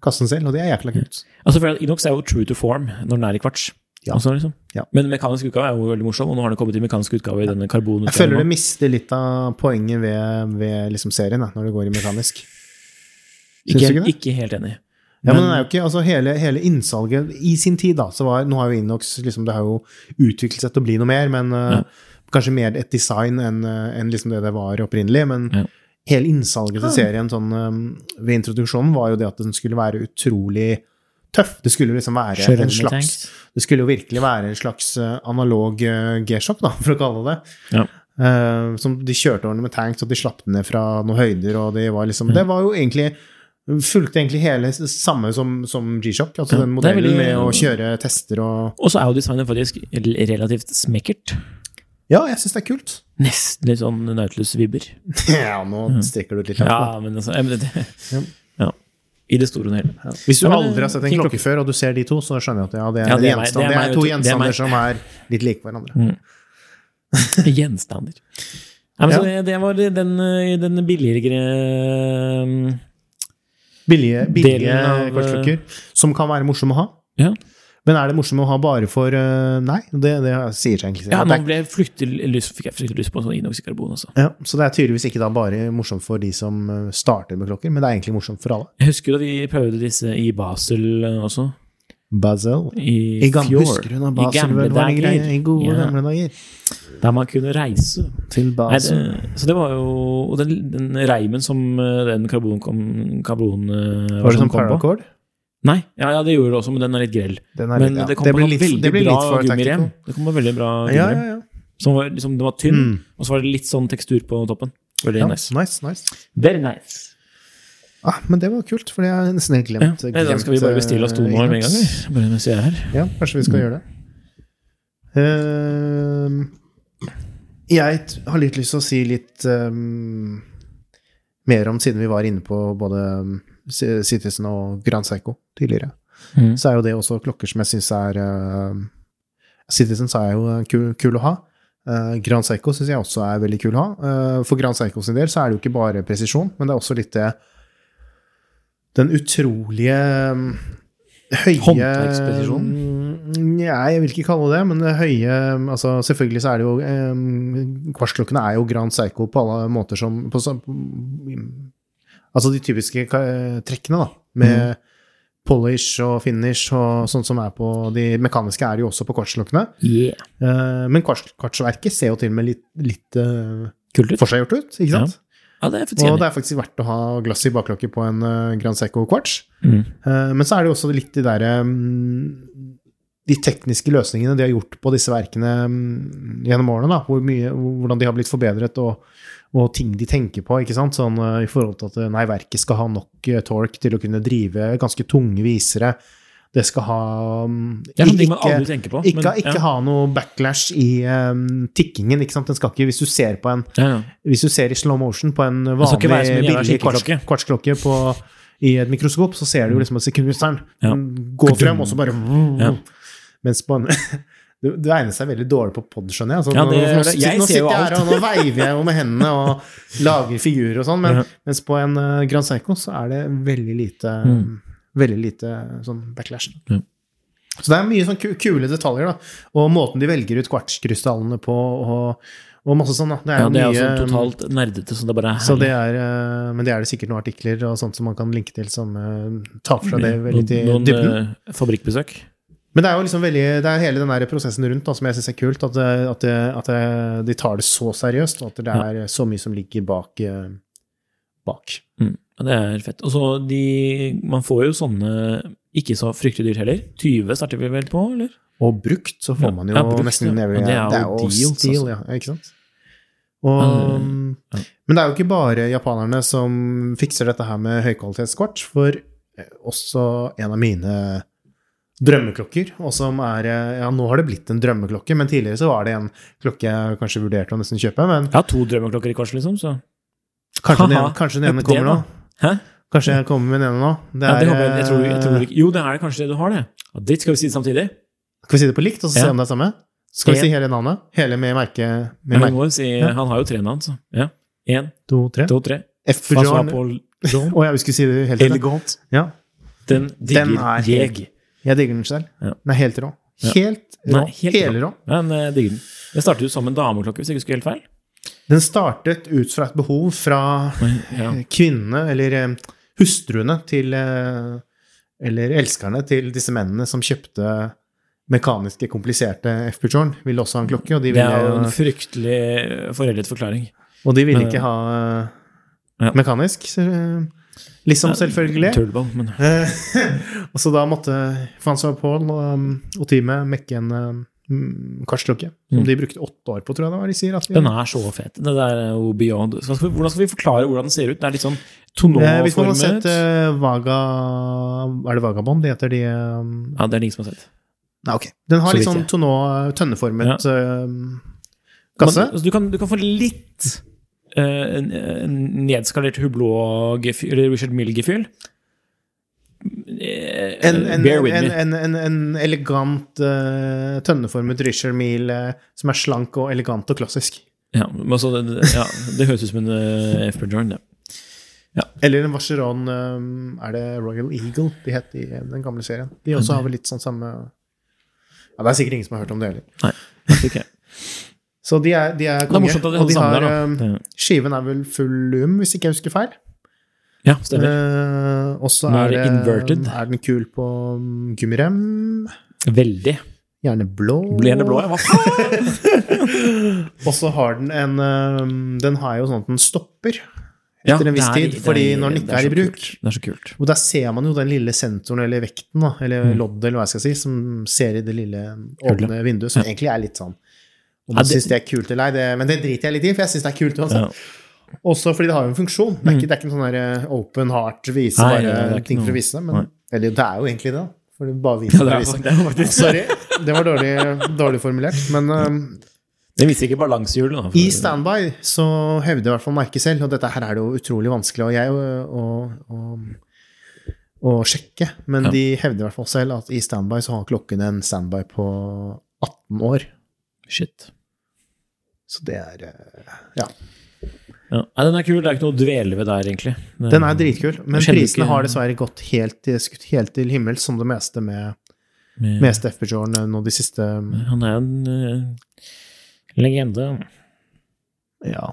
B: kassen selv, og det er jækla kult.
A: Altså, for Inox er jo true to form når den er i kvarts.
B: Ja.
A: Altså, liksom.
B: Ja.
A: Men mekanisk utgave er jo veldig morsom, og nå har den kommet i mekanisk utgave i denne
B: Jeg føler det
A: karbonutgaven.
B: mister litt av poenget ved, ved liksom serien, da, når det går i mekanisk.
A: Ikke,
B: Syns du ikke det?
A: ikke helt enig.
B: Ja, men
A: Men-
B: den er jo ikke, altså hele, hele innsalget i sin tid, da, så var Nå har jo Inox liksom, det har jo utviklet seg til å bli noe mer, men eh,
A: Ja.
B: kanskje mer et design enn eh, enn liksom det det var opprinnelig. Men
A: Ja.
B: hele innsalget til serien sånn, eh, ved introduksjonen var jo det at den skulle være utrolig tøff. Det skulle liksom være
A: Sjørøvertanks.
B: en slags det skulle jo virkelig være en slags eh, analog eh, G-sjokk, da, for å kalle det det.
A: Ja.
B: Eh, som de kjørte over med tanks, og de slapp den ned fra noen høyder, og det var liksom
A: Mm.
B: Det var jo egentlig Fulgte egentlig hele s- samme som, som G-sjokk, altså
A: Ja, det er
B: den modellen
A: veldig-
B: med å kjøre tester og
A: Og så er jo designet faktisk rel- relativt smekkert.
B: Ja, jeg syns det er kult.
A: Nesten litt sånn Nautilus-vibber.
B: *laughs* Ja, nå strekker du ut litt langt. da.
A: Mm. Ja, men altså jeg mener det,
B: Ja.
A: ja. I det store og hele.
B: Ja. Hvis du
A: Ja, men,
B: aldri har sett en
A: fin
B: klokke før, og du ser de to, så skjønner jeg at ja, det er,
A: Ja, det er meg-
B: gjenstand.
A: det er
B: Det
A: meg
B: er,
A: og
B: to
A: to- det er meg. Mm.
B: gjenstander som er litt like hverandre.
A: Gjenstander. Nei, men så det, det var den, eh, den billigere eh,
B: Billige, billige
A: Delen av, eh,
B: kortklokker som kan være morsomme å ha.
A: Ja,
B: Men er det morsomt å ha bare for eh, Nei, det, det sier seg egentlig selv.
A: ja
B: At
A: nå
B: det er-
A: ble jeg fryktelig lyst, fikk jeg fryktelig lyst på en sånn Inox i karbon. Også.
B: ja, så det er tydeligvis ikke da bare morsomt for de som eh, starter med klokker, men det er egentlig morsomt for alle.
A: Jeg husker jo da vi prøvde disse i Basel eh, også.
B: Bazel.
A: I,
B: I gamle,
A: fjor.
B: husker du når
A: I
B: Basel
A: gamle
B: vel var en greie? I gode
A: Ja,
B: gamle dager.
A: der man kunne reise.
B: Til
A: Nei,
B: Basel.
A: det, så det var jo Og den, den reimen som eh, den karbon, kom, karbon eh,
B: var det
A: versjonen
B: sånn paracord?
A: Nei, ja, ja, det gjorde det også, men den er litt grell.
B: Den
A: Men
B: ja,
A: det kom på
B: blir
A: en
B: litt- det
A: veldig
B: blir
A: bra
B: litt for
A: gummirem.
B: tactical.
A: Det kom på veldig bra
B: Ja,
A: gummirem.
B: ja, ja.
A: Som var, liksom, den var tynn,
B: Mm.
A: og så var det litt sånn tekstur på toppen. Veldig
B: ja.
A: nice.
B: Nice, nice.
A: Very nice.
B: Ah, men det var kult, for jeg har nesten helt
A: Ja.
B: glemt
A: Nei, da skal vi
B: glemt,
A: bare bestille oss to
B: eh,
A: nå med en
B: Inox.
A: gang. vi. Bare mens vi er her.
B: Ja, kanskje vi skal gjøre det. Ehm, jeg t- har litt lyst til å si litt ehm, mer om, siden vi var inne på både ehm, C- Citizen og Grand Seiko tidligere,
A: Mm.
B: så er jo det også klokker som jeg syns er ehm, Citizen sa jeg jo er kul, kul å ha. Eh, Grand Seiko syns jeg også er veldig kul å ha. Eh, for Grand Seiko sin del så er det jo ikke bare presisjon, men det er også litt det Den utrolige ehm, høye
A: Håndverkspresisjon?
B: Mm, Nei, jeg vil ikke kalle det det, men det høye altså Selvfølgelig så er det jo eh, Kvartsklokkene er jo Grand Seiko på alle måter som på, sam- Altså de typiske eh, trekkene, da. Med
A: Mm.
B: polish og finish og sånt som er på De mekaniske er jo også på kvartsklokkene.
A: Yeah.
B: Eh, men kvarts, kvartsverket ser jo til og med litt, litt eh,
A: Kult ut.
B: forseggjort ut, ikke sant?
A: Ja, det er for
B: og
A: tjener.
B: det er faktisk verdt å ha glass i bakklokke på en eh, Grand Seco kvarts.
A: Mm.
B: Eh, men så er det jo også litt de derre mm, De tekniske løsningene de har gjort på disse verkene mm, gjennom årene, da. Hvor mye, hvordan de har blitt forbedret, og, og ting de tenker på, ikke sant. Sånn eh, i forhold til at eh, nei, verket skal ha nok eh, torque til å kunne drive ganske tunge visere. Det skal ha mm,
A: Det er sånne ting man
B: ikke-
A: aldri tenker på.
B: ikke,
A: men-
B: ikke
A: ja.
B: ha noe backlash i ehm, tikkingen. ikke sant? Den skal ikke, hvis du ser på en
A: Ja, ja.
B: hvis du ser i slow motion på en
A: skal ikke
B: vanlig
A: være som en jævla
B: billig kvarts,
A: skikkeklokke.
B: kvartsklokke på, i et mikroskop, så ser du jo liksom at sekundministeren
A: Mm. Ja.
B: går frem, og så bare
A: Ja.
B: Mens på en *laughs* du, du egner seg veldig dårlig på pod, skjønner jeg. Altså,
A: Ja,
B: nå,
A: det gjør
B: nå,
A: det. Jeg
B: nå
A: ser jo
B: sitter jeg her, og nå veiver jeg jo med hendene
A: *laughs*
B: og lager figurer og sånn, men
A: Ja.
B: mens på en eh, Grand Seiko så er det veldig lite
A: Mm.
B: Veldig lite sånn backlash. Så det er mye sånn ku- kule detaljer, da. Og måten de velger ut kvartskrystallene på, og, og masse sånn, da. Det er
A: Ja,
B: jo
A: det er jo
B: mye,
A: sånn totalt nerdete, så det bare er
B: så det
A: herlig.
B: er, eh, men det er det sikkert noen artikler og sånt som man kan linke til, som eh, tar for seg det veldig
A: Noen,
B: i
A: Mm. noen
B: dybden.
A: eh, fabrikkbesøk.
B: Men det er jo liksom veldig, det er hele den der prosessen rundt da, som jeg syns er kult. At, det- at, det- at det- de tar det så seriøst, og at det
A: Ja.
B: er så mye som ligger bak. eh, bak.
A: Mm, ja, det er fett. Og så de Man får jo sånne ikke så fryktelig dyrt heller. 20 starter vi vel på, eller?
B: Og brukt så
A: Ja,
B: får man jo
A: ja, brukt,
B: nesten
A: ja.
B: evig
A: Ja, det er jo deals,
B: steal, ja. Ikke sant? Og, um,
A: Ja.
B: Men det er jo ikke bare japanerne som fikser dette her med høykvalitetskvart, for eh, også en av mine drømmeklokker, og som er eh, Ja, nå har det blitt en drømmeklokke, men tidligere så var det en klokke jeg kanskje vurderte å nesten kjøpe, men
A: Jeg har to drømmeklokker i kors, liksom, så
B: kanskje, den,
A: Haha,
B: ene- kanskje den ene
A: det
B: kommer nå.
A: da. Hæ?
B: Kanskje jeg kommer med den ene nå. Det
A: Ja, det
B: er,
A: håper jeg, jeg, tror, jeg
B: eh,
A: tror ikke Jo, det er det kanskje det du har, det. Ja, Ditt skal vi si det samtidig.
B: eh, Skal vi si det på likt, og så
A: Ja.
B: se om det er samme? Skal vi
A: En.
B: si hele navnet? Hele med merke?
A: Men
B: Med
A: vi
B: merke.
A: må jo si,
B: Ja.
A: Han har jo tre navn, så. Ja. Én,
B: To, tre.
A: to, tre.
B: F-Bujarn. *laughs* Å, jeg skulle si det helt til.
A: Elegant.
B: Ja,
A: Den digger
B: Den er helt-
A: jeg.
B: jeg digger den selv.
A: Ja.
B: Den er helt rå.
A: Ja.
B: Helt rå.
A: Nei, helt rå.
B: Hele rå.
A: Men eh, digger den. Den startet jo som en dameklokke, hvis jeg ikke husker helt feil.
B: Den startet ut fra et behov fra
A: Ja.
B: eh, kvinnene, eller eh, hustruene til eh, Eller elskerne til disse mennene som kjøpte mekaniske, kompliserte F-Bujarn. Ville også ha en klokke, og de
A: Det er jo
B: ville,
A: en fryktelig foreldet forklaring.
B: og de ville
A: Ja.
B: ikke ha eh,
A: Ja.
B: mekanisk. så, eh, Liksom, selvfølgelig.
A: Tullball, men
B: Eh, *laughs* og så da måtte Francois Paul og, um, og teamet mekke en um, kartklokke. Som
A: Mm.
B: de brukte åtte år på, tror jeg det var. De sier at
A: Den er så fet. Det der er jo beyond. Så skal vi- Hvordan skal vi forklare hvordan den ser ut? Det er litt sånn tonåformet.
B: Eh, Hvis man har sett eh, Vaga Er det Vagabond de heter, de um,
A: Ja, det er det ingen som har sett.
B: Nei, ok. Den
A: Så
B: har litt
A: vidt
B: sånn
A: jeg.
B: tonneau- tønneformet um, kasse.
A: Men, altså, du, kan, du kan få litt eh, en- en nedskalert Hublot-gefühl, eller Richard Mill-gefühl. Eh,
B: En, en,
A: Bear with
B: en,
A: me.
B: en, en, en elegant eh, tønneformet Richard Mille eh, som er slank og elegant og klassisk.
A: Ja, men altså, det, ja, det høres ut som en uh, F. Bjørn, det.
B: Eller en Vacheron um, Er det Royal Eagle de het i den gamle serien? De også har vel litt sånn samme Ja, Det er sikkert ingen som har hørt om det heller.
A: Vet
B: *laughs*
A: ikke.
B: Så de er, de er
A: Det er
B: konge.
A: morsomt at de
B: og
A: hadde
B: de
A: sammen
B: har,
A: der, da.
B: um,
A: Det-
B: skiven er vel full lum, hvis ikke jeg husker feil.
A: Ja, stemmer.
B: Eh, og så
A: Nå er
B: er,
A: det
B: det-
A: inverted.
B: er den kul på um, gummirem.
A: Veldig.
B: Gjerne blå.
A: Blir det blå, ja? Hva faen?
B: Og så har den en um, Den har jo sånn at den stopper
A: Ja,
B: *laughs* etter en
A: det
B: viss
A: er-
B: tid,
A: det er-
B: fordi når den
A: det
B: ikke er
A: så
B: i bruk
A: kult. Det er så kult.
B: Og der ser man jo den lille sensoren, eller vekten, da, eller
A: Mm.
B: loddet, eller hva jeg skal si, som ser i det lille åpne vinduet, som egentlig er litt sånn Om
A: Ja,
B: man
A: det-
B: syns det er kult eller ei, det- men det driter jeg litt i, for jeg syns det er kult uansett.
A: Ja. Mm.
B: Også fordi det har jo en funksjon. Det er ikke, det er ikke en sånn der eh, open heart, vise
A: Nei,
B: bare
A: nei, det er ikke
B: ting for
A: noe-
B: å vise,
A: nei.
B: men Eller det er jo egentlig det, da. For det bare viser
A: Ja, det
B: for å
A: er,
B: vise.
A: fakt- *laughs* det er faktisk
B: Sorry, det var dårlig, dårlig formulert, men eh,
A: Den viser ikke balansehjulet, da. for-
B: i standby så hevder i hvert fall merket selv, og dette her er det jo utrolig vanskelig og jeg å, å, å, å sjekke, men
A: Ja.
B: de hevder i hvert fall selv at i standby så har klokken en standby på 18 år.
A: Shit.
B: Så det er eh, Ja.
A: Ja. Nei, den er kul. Det er ikke noe å dvele ved der, egentlig. Det-
B: Den er dritkul, men
A: Jeg kjenner
B: prisene
A: ikke-
B: har dessverre gått helt til, skutt helt til himmels, som det meste med
A: med-
B: meste FPJ-en nå de siste
A: Han er en eh, legende.
B: Ja.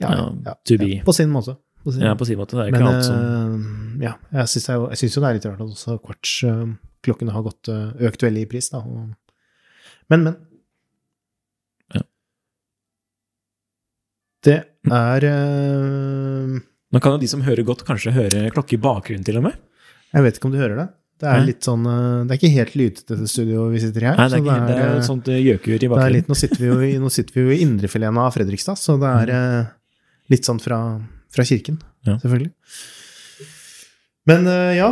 B: Ja, ja,
A: Ja,
B: ja,
A: to be.
B: ja. På sin måte. På sin
A: Ja, på sin måte. Det er ikke
B: Men
A: alt som
B: eh, ja, jeg syns jo, jeg synes jo det er litt rart at også kvartsklokkene har gått, eh, økt veldig i pris. Da. Og, men, men.
A: Ja.
B: Det er eh,
A: Nå kan jo de som hører godt, kanskje høre klokke i bakgrunnen, til og med.
B: Jeg vet ikke om du hører det? Det
A: Nei.
B: er litt sånn eh, Det er ikke helt lytete det studioet vi sitter i her.
A: Nei, det er,
B: så
A: ikke, det er
B: eh,
A: et sånt eh, gjøkur i
B: det er
A: bakgrunnen.
B: litt, nå, sitter vi jo i, nå sitter vi jo i indrefileten av Fredrikstad, så det er eh, litt sånn fra, fra kirken,
A: Mm. Ja.
B: selvfølgelig. Men eh, ja,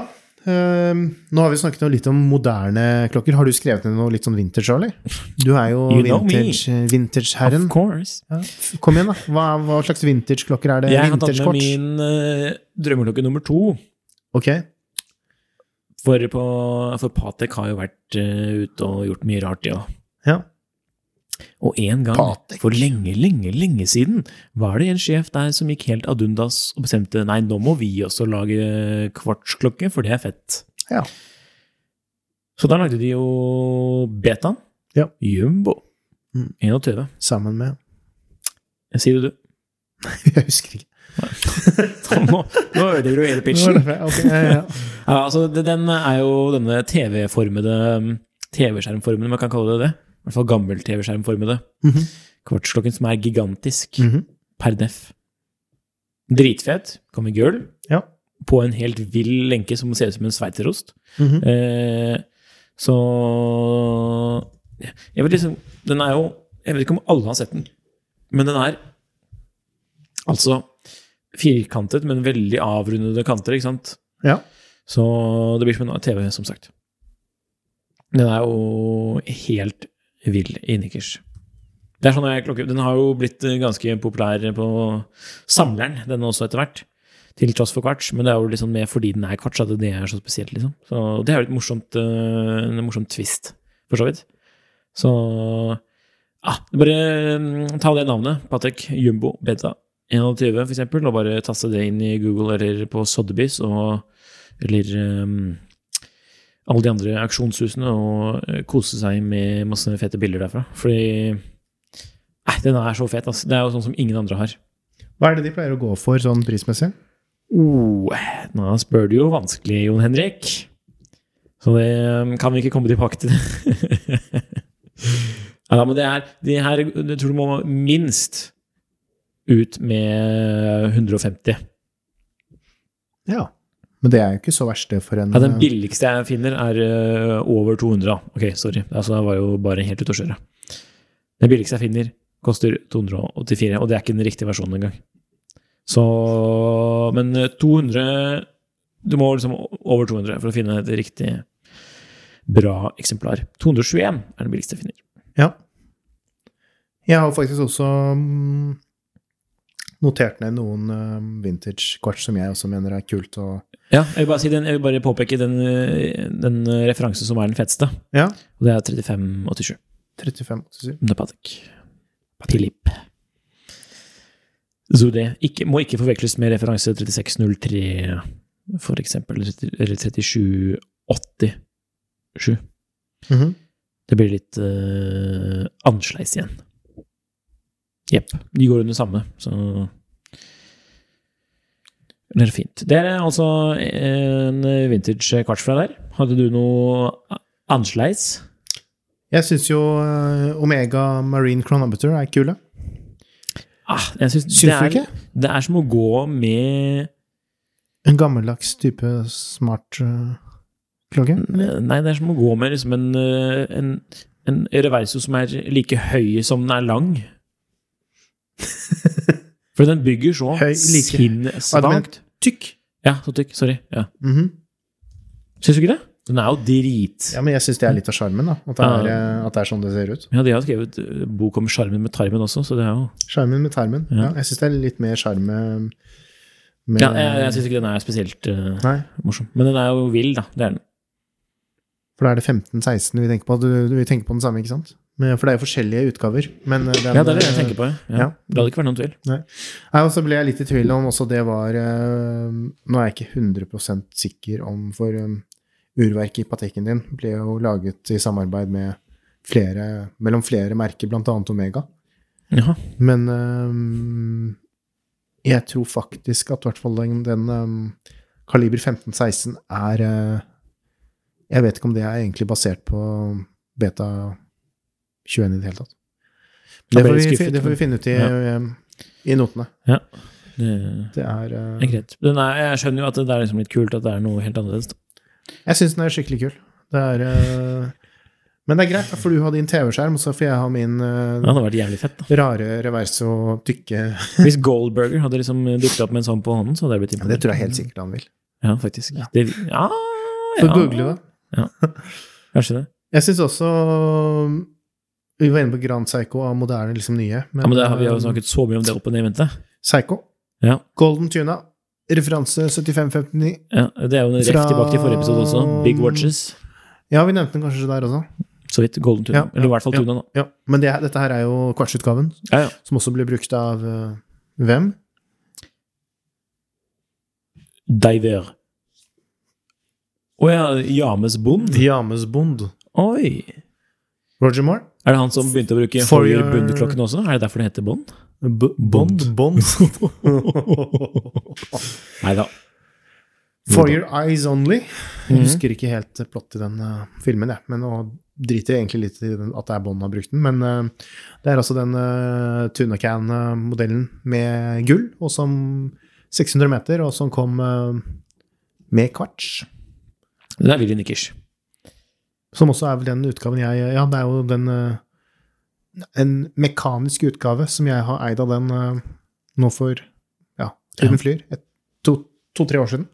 B: eh, nå har vi snakket jo litt om moderne klokker. Har du skrevet ned noe litt sånn vintage, Charlie? Du er jo
A: *laughs* You know me.
B: vintage- eh, vintage-herren.
A: Of course.
B: ja. Kom igjen, da. Hva, hva slags vintage-klokker er det?
A: Jeg har tatt med
B: Vintage-kort?
A: min eh, drømmeklokke nummer to.
B: Ok.
A: For, på, for Patek har jo vært eh, ute og gjort mye rart, ja.
B: Ja.
A: Og en gang,
B: Patek.
A: for lenge, lenge, lenge siden, var det en sjef der som gikk helt ad undas og bestemte nei, nå må vi også lage kvartsklokke, for det er fett.
B: Ja.
A: Så der lagde de jo betaen.
B: Ja.
A: Jumbo.
B: Mm.
A: 21.
B: Sammen med *laughs*
A: Sier du *laughs* det?
B: Jeg husker ikke.
A: Nå, nå ødelegger du hele pitchen.
B: Ok, ja,
A: *laughs*
B: ja.
A: Ja, altså, det- den er jo denne TV-formede mm, TV-skjermformede, man kan kalle det det. I hvert fall gammel TV-skjermformede.
B: Mhm.
A: Kvartsklokken som er gigantisk
B: Mhm.
A: per def. Dritfet. Kom i gull.
B: Ja.
A: På en helt vill lenke som ser ut som en sveitserost.
B: Mhm.
A: Eh, så Jeg vet liksom Den er jo Jeg vet ikke om alle har sett den, men den er altså firkantet, men veldig avrundede kanter, ikke sant?
B: ja.
A: Så det blir som en TV, som sagt. Den er jo helt vill innikers. Det er sånn jeg klokker. Den har jo blitt eh, ganske populær på samleren, den også etter hvert. Til tross for kvarts, men det er jo liksom mer fordi den er kvarts at det er så spesielt. liksom. Så Det er jo et morsomt, eh, en morsom twist, for så vidt. Så ja, bare mm, ta det navnet. Patek Jumbo Beta 21, for eksempel, og bare taste det inn i Google eller på Sotheby's og eller ehm, alle de andre auksjonshusene og eh, kose seg med masse fete bilder derfra. Fordi Nei, den er så fet. ass. Det er jo sånn som ingen andre har.
B: Hva er det de pleier å gå for sånn prismessig?
A: Oh, nå spør du jo vanskelig, Jon Henrik. Så det ehm, kan vi ikke komme tilbake til. *laughs* ja, men det er de her Jeg tror du må minst ut med 150.
B: Ja. Men det er jo ikke så verst, det, for en
A: Ja, Den billigste jeg finner, er eh, over 200. da. Ok, sorry. Altså, jeg var jo bare helt ute å kjøre. Den billigste jeg finner, koster 284, og det er ikke den riktige versjonen engang. Så Men eh, 200 Du må liksom over 200 for å finne et riktig bra eksemplar. 221 er den billigste jeg finner.
B: Ja. Jeg har faktisk også mm, notert ned noen eh, vintage-kvarts som jeg også mener er kult. Og,
A: Ja, jeg vil bare, si den, jeg vil bare påpeke den, eh, den eh, referansen som er den feteste,
B: ja.
A: og det er 3587.
B: 35 87.
A: Det er Patek. Philippe. Så det ikke, må ikke forveksles med referanse 3603, for eksempel, eller 30 eller 3787.
B: Mhm.
A: Det blir litt eh, annerledes igjen. Jepp. De går under samme, så Det er fint. Det er altså en vintage kvarts fra der. Hadde du noe annerledes?
B: Jeg syns jo eh, Omega Marine Chronometer er kule.
A: Ah, jeg syns
B: Syns du
A: det er-
B: ikke?
A: Det er som å gå med
B: En gammeldags type smart eh, klokke.
A: Eh, Nei, det er som å gå med liksom en, eh, en, en reverso som er like høy som den er
B: *laughs*
A: lang. For den bygger så
B: Høy, like.
A: sinnssvakt.
B: Tykk.
A: Ja, så tykk. Sorry. Ja.
B: Mhm.
A: Syns du ikke det? Den er jo drit.
B: Ja, men jeg syns det er litt av sjarmen, da. At det, er, eh, at det er sånn det ser ut.
A: Ja, de har skrevet eh, bok om sjarmen med tarmen også, så det er jo
B: Sjarmen med tarmen.
A: Ja.
B: Ja. jeg syns det er litt mer sjarm med, med
A: Ja,
B: Eh.
A: jeg, jeg syns ikke den er spesielt eh,
B: Nei,
A: morsom. Men den er jo vill, da. Det er den.
B: for da er det 15-16 vi tenker på. Du, du, vi tenker på den samme, ikke sant? Men, for det er jo forskjellige utgaver. Men eh, den,
A: Ja, det er det jeg tenker på. Ja. Ja.
B: ja.
A: Det hadde ikke vært noen tvil.
B: Nei, og så ble jeg litt i tvil om også det var eh, Nå er jeg ikke 100 sikker om, for eh, urverket i Pateken din ble jo laget i samarbeid med flere, mellom flere merker, bl.a. Omega.
A: Jaha.
B: Men eh, jeg tror faktisk at i hvert fall den, den eh, kaliber 15-16 er eh, Jeg vet ikke om det er egentlig basert på beta 21 i det hele tatt.
A: Da
B: Det
A: ble
B: får,
A: jeg
B: vi,
A: skuffet,
B: det får vi finne ut i, eh, i notene.
A: Det-
B: Det er eh,
A: Det er greit. Den er, jeg skjønner jo at det er liksom litt kult at det er noe helt annerledes. da.
B: Jeg syns den er skikkelig kul. Det er eh, Men det er greit, da, for du har din TV-skjerm, og så får jeg ha min eh,
A: Det hadde vært jævlig fett. da.
B: rare reverse og tykke
A: Hvis Goldberger hadde liksom dukket opp med en sånn på hånden, så hadde jeg blitt imponert.
B: Det tror jeg helt sikkert han vil.
A: Ja, faktisk. Ja, det, ja,
B: Får
A: ja.
B: google det.
A: Kanskje det.
B: Jeg syns også Vi var inne på Grand Psycho av moderne, liksom nye. eh,
A: Ja, men det har Vi har jo snakket så mye om det opp og ned i vente.
B: Psycho.
A: Ja.
B: Golden Tuna. Referanse 75-59.
A: Ja, det er jo en ref
B: Fra-
A: tilbake til forrige episode også. Big Watches.
B: Ja, vi nevnte den kanskje der også.
A: Så vidt. Golden Tuna.
B: Ja, ja,
A: Eller i hvert fall
B: ja.
A: Tuna, da.
B: Ja, Men det, dette her er jo kvartsutgaven,
A: Ja, ja.
B: som også ble brukt av eh, hvem?
A: Diver. Å ja, James Bond?
B: James Bond.
A: Oi!
B: Roger Moore.
A: Er det han som begynte å bruke
B: For
A: Hoyer
B: your-
A: Bund-klokken også? Er det derfor det heter Bond?
B: B Bond. *laughs*
A: Nei da.
B: For Your Eyes Only. Jeg husker ikke helt plott i den eh, filmen, jeg. Men nå driter jeg egentlig litt i den, at det er Bond som har brukt den. Men eh, det er altså den uh, Tunacan-modellen med gull, og som 600 meter, og som kom eh, med kvarts.
A: Det er Willy Nikkers.
B: Som også er vel den utgaven jeg Ja, det er jo den eh, En mekanisk utgave som jeg har eid av den eh, nå for Ja, tiden flyr. Et- To-tre år siden.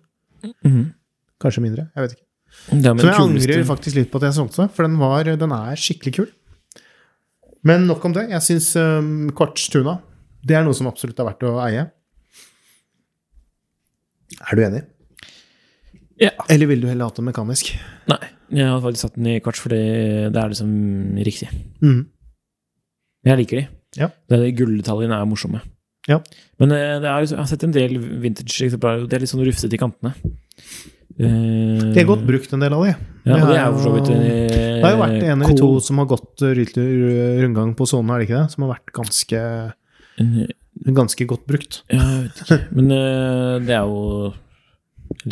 A: Mhm.
B: Kanskje mindre. Jeg vet ikke.
A: Det er med
B: Som jeg
A: den kuleste-
B: angrer faktisk litt på at jeg solgte, for den, var, den er skikkelig kul. Men nok om det. Jeg syns um, Kvartstuna det er noe som absolutt er verdt å eie. Er du enig?
A: Ja.
B: Eller ville du heller hatt det mekanisk?
A: Nei, jeg hadde faktisk satt den i kvarts, for det, det er liksom riktig.
B: Mm.
A: Jeg liker de.
B: Ja.
A: Det, de gulldetaljene er morsomme.
B: Ja.
A: Men eh, det er, liksom- jeg har sett en del vintage-eksemplarer, og de er litt sånn rufsete i kantene. Eh,
B: De er godt brukt, en del av de.
A: Ja,
B: Det
A: og det
B: er
A: er jo for så vidt eh,
B: jo- Det har jo vært en eller to som har gått eh, rylt- rundgang på sonen, er det ikke det? Som har vært ganske, ganske godt brukt.
A: Ja, jeg vet ikke.
B: *laughs*
A: Men eh, det er jo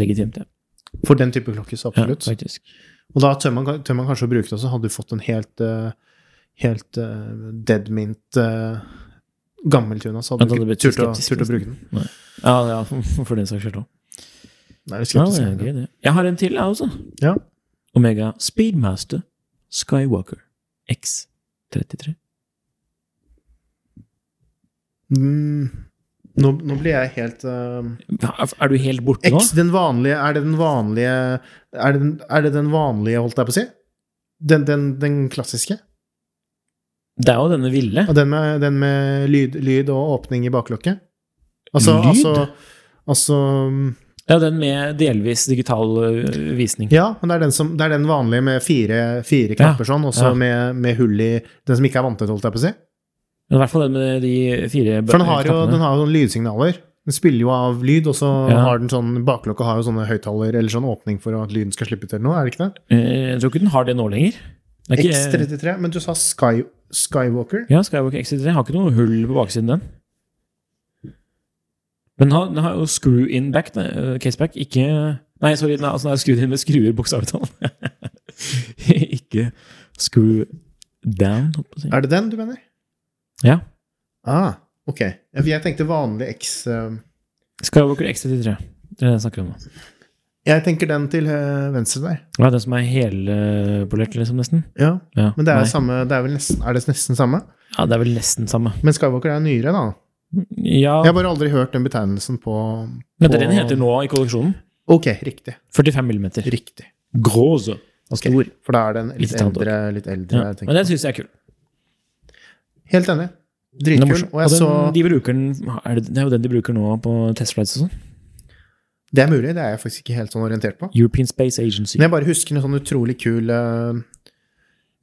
A: legitimt, ja.
B: For den type klokke,
A: ja
B: så absolutt.
A: faktisk.
B: Og da tør man, tør man kanskje å bruke det også. Hadde du fått en helt, eh, helt eh, dead mint eh, gammel tuna, så
A: Ja, da
B: hadde
A: hadde
B: du ikke
A: du blitt
B: turt å,
A: skeptisk, liksom.
B: turt å
A: nesten.
B: bruke den.
A: Ja, ja, *laughs* for for den saks skyld òg.
B: Nei, jeg er
A: Ja,
B: skeptisk.
A: det er gøy, det. jeg har en til, jeg også.
B: Ja.
A: Omega Speedmaster Skywalker X33.
B: Mm, nå, nå blir jeg helt eh,
A: Hva- Er du helt borte nå?
B: X, den vanlige Er det den vanlige Er det den, er det den vanlige, holdt jeg på å si? Den, den, den klassiske?
A: Det er jo denne ville.
B: Ja, den med, den med lyd, lyd og åpning i baklokket? Altså,
A: Lyd?
B: altså, altså
A: Ja, den med delvis digital ø, visning.
B: Ja, men det er den, som, det er den vanlige med fire, fire knapper sånn, og så
A: ja.
B: med, med hull i Den som ikke er vanntett, holdt jeg på å si.
A: Men I hvert fall den med de fire bø-
B: For den har jo,
A: knappene.
B: den har jo sånne lydsignaler. Den spiller jo av lyd, og så
A: Ja.
B: har den sånn Baklokka har jo sånne høyttaler eller sånn åpning for at lyden skal slippe til noe, er det ikke det?
A: Eh, Jeg tror ikke den har det nå lenger. Det er ikke, eh,
B: X33, men du sa Sky, Skywalker?
A: ja, Skywalker X33 har ikke noe hull på baksiden, den. Men den har, den har jo screw in back, den, ø, caseback, ikke Nei, sorry, den er, altså, den er skrudd inn med skruer, bokstavelig talt. *laughs* ikke screw down, holdt jeg på å si.
B: Er det den du mener?
A: Ja.
B: Ah, ok. Ja, for Jeg tenkte vanlig X eh,
A: Skywalker X33. Det er det jeg snakker om nå.
B: Jeg tenker den til eh, venstre der.
A: Ja, den som er helpolert, liksom, nesten.
B: Ja.
A: Ja,
B: Men det
A: nei.
B: er, jo samme, det er vel nesten, er det nesten samme?
A: Ja, det er vel nesten samme.
B: Men Skywalker er nyere, da.
A: Ja,
B: Jeg har bare aldri hørt den betegnelsen på
A: men det er det den
B: på-
A: heter nå i kolleksjonen.
B: Ok, riktig.
A: 45 millimeter.
B: Riktig.
A: Gråse.
B: Ok, For da er den litt
A: Litt annet
B: eldre. Litt eldre
A: Ja.
B: tenker
A: Men den
B: jeg.
A: syns jeg er kul.
B: Helt enig.
A: Den er
B: Dritkul.
A: morsom.
B: Og jeg
A: den,
B: så
A: de bruker den, er det, det er jo den de bruker nå på testflights og sånn.
B: Det er mulig, det er jeg faktisk ikke helt sånn orientert på.
A: European Space Agency.
B: Men jeg bare husker en sånn utrolig kul eh,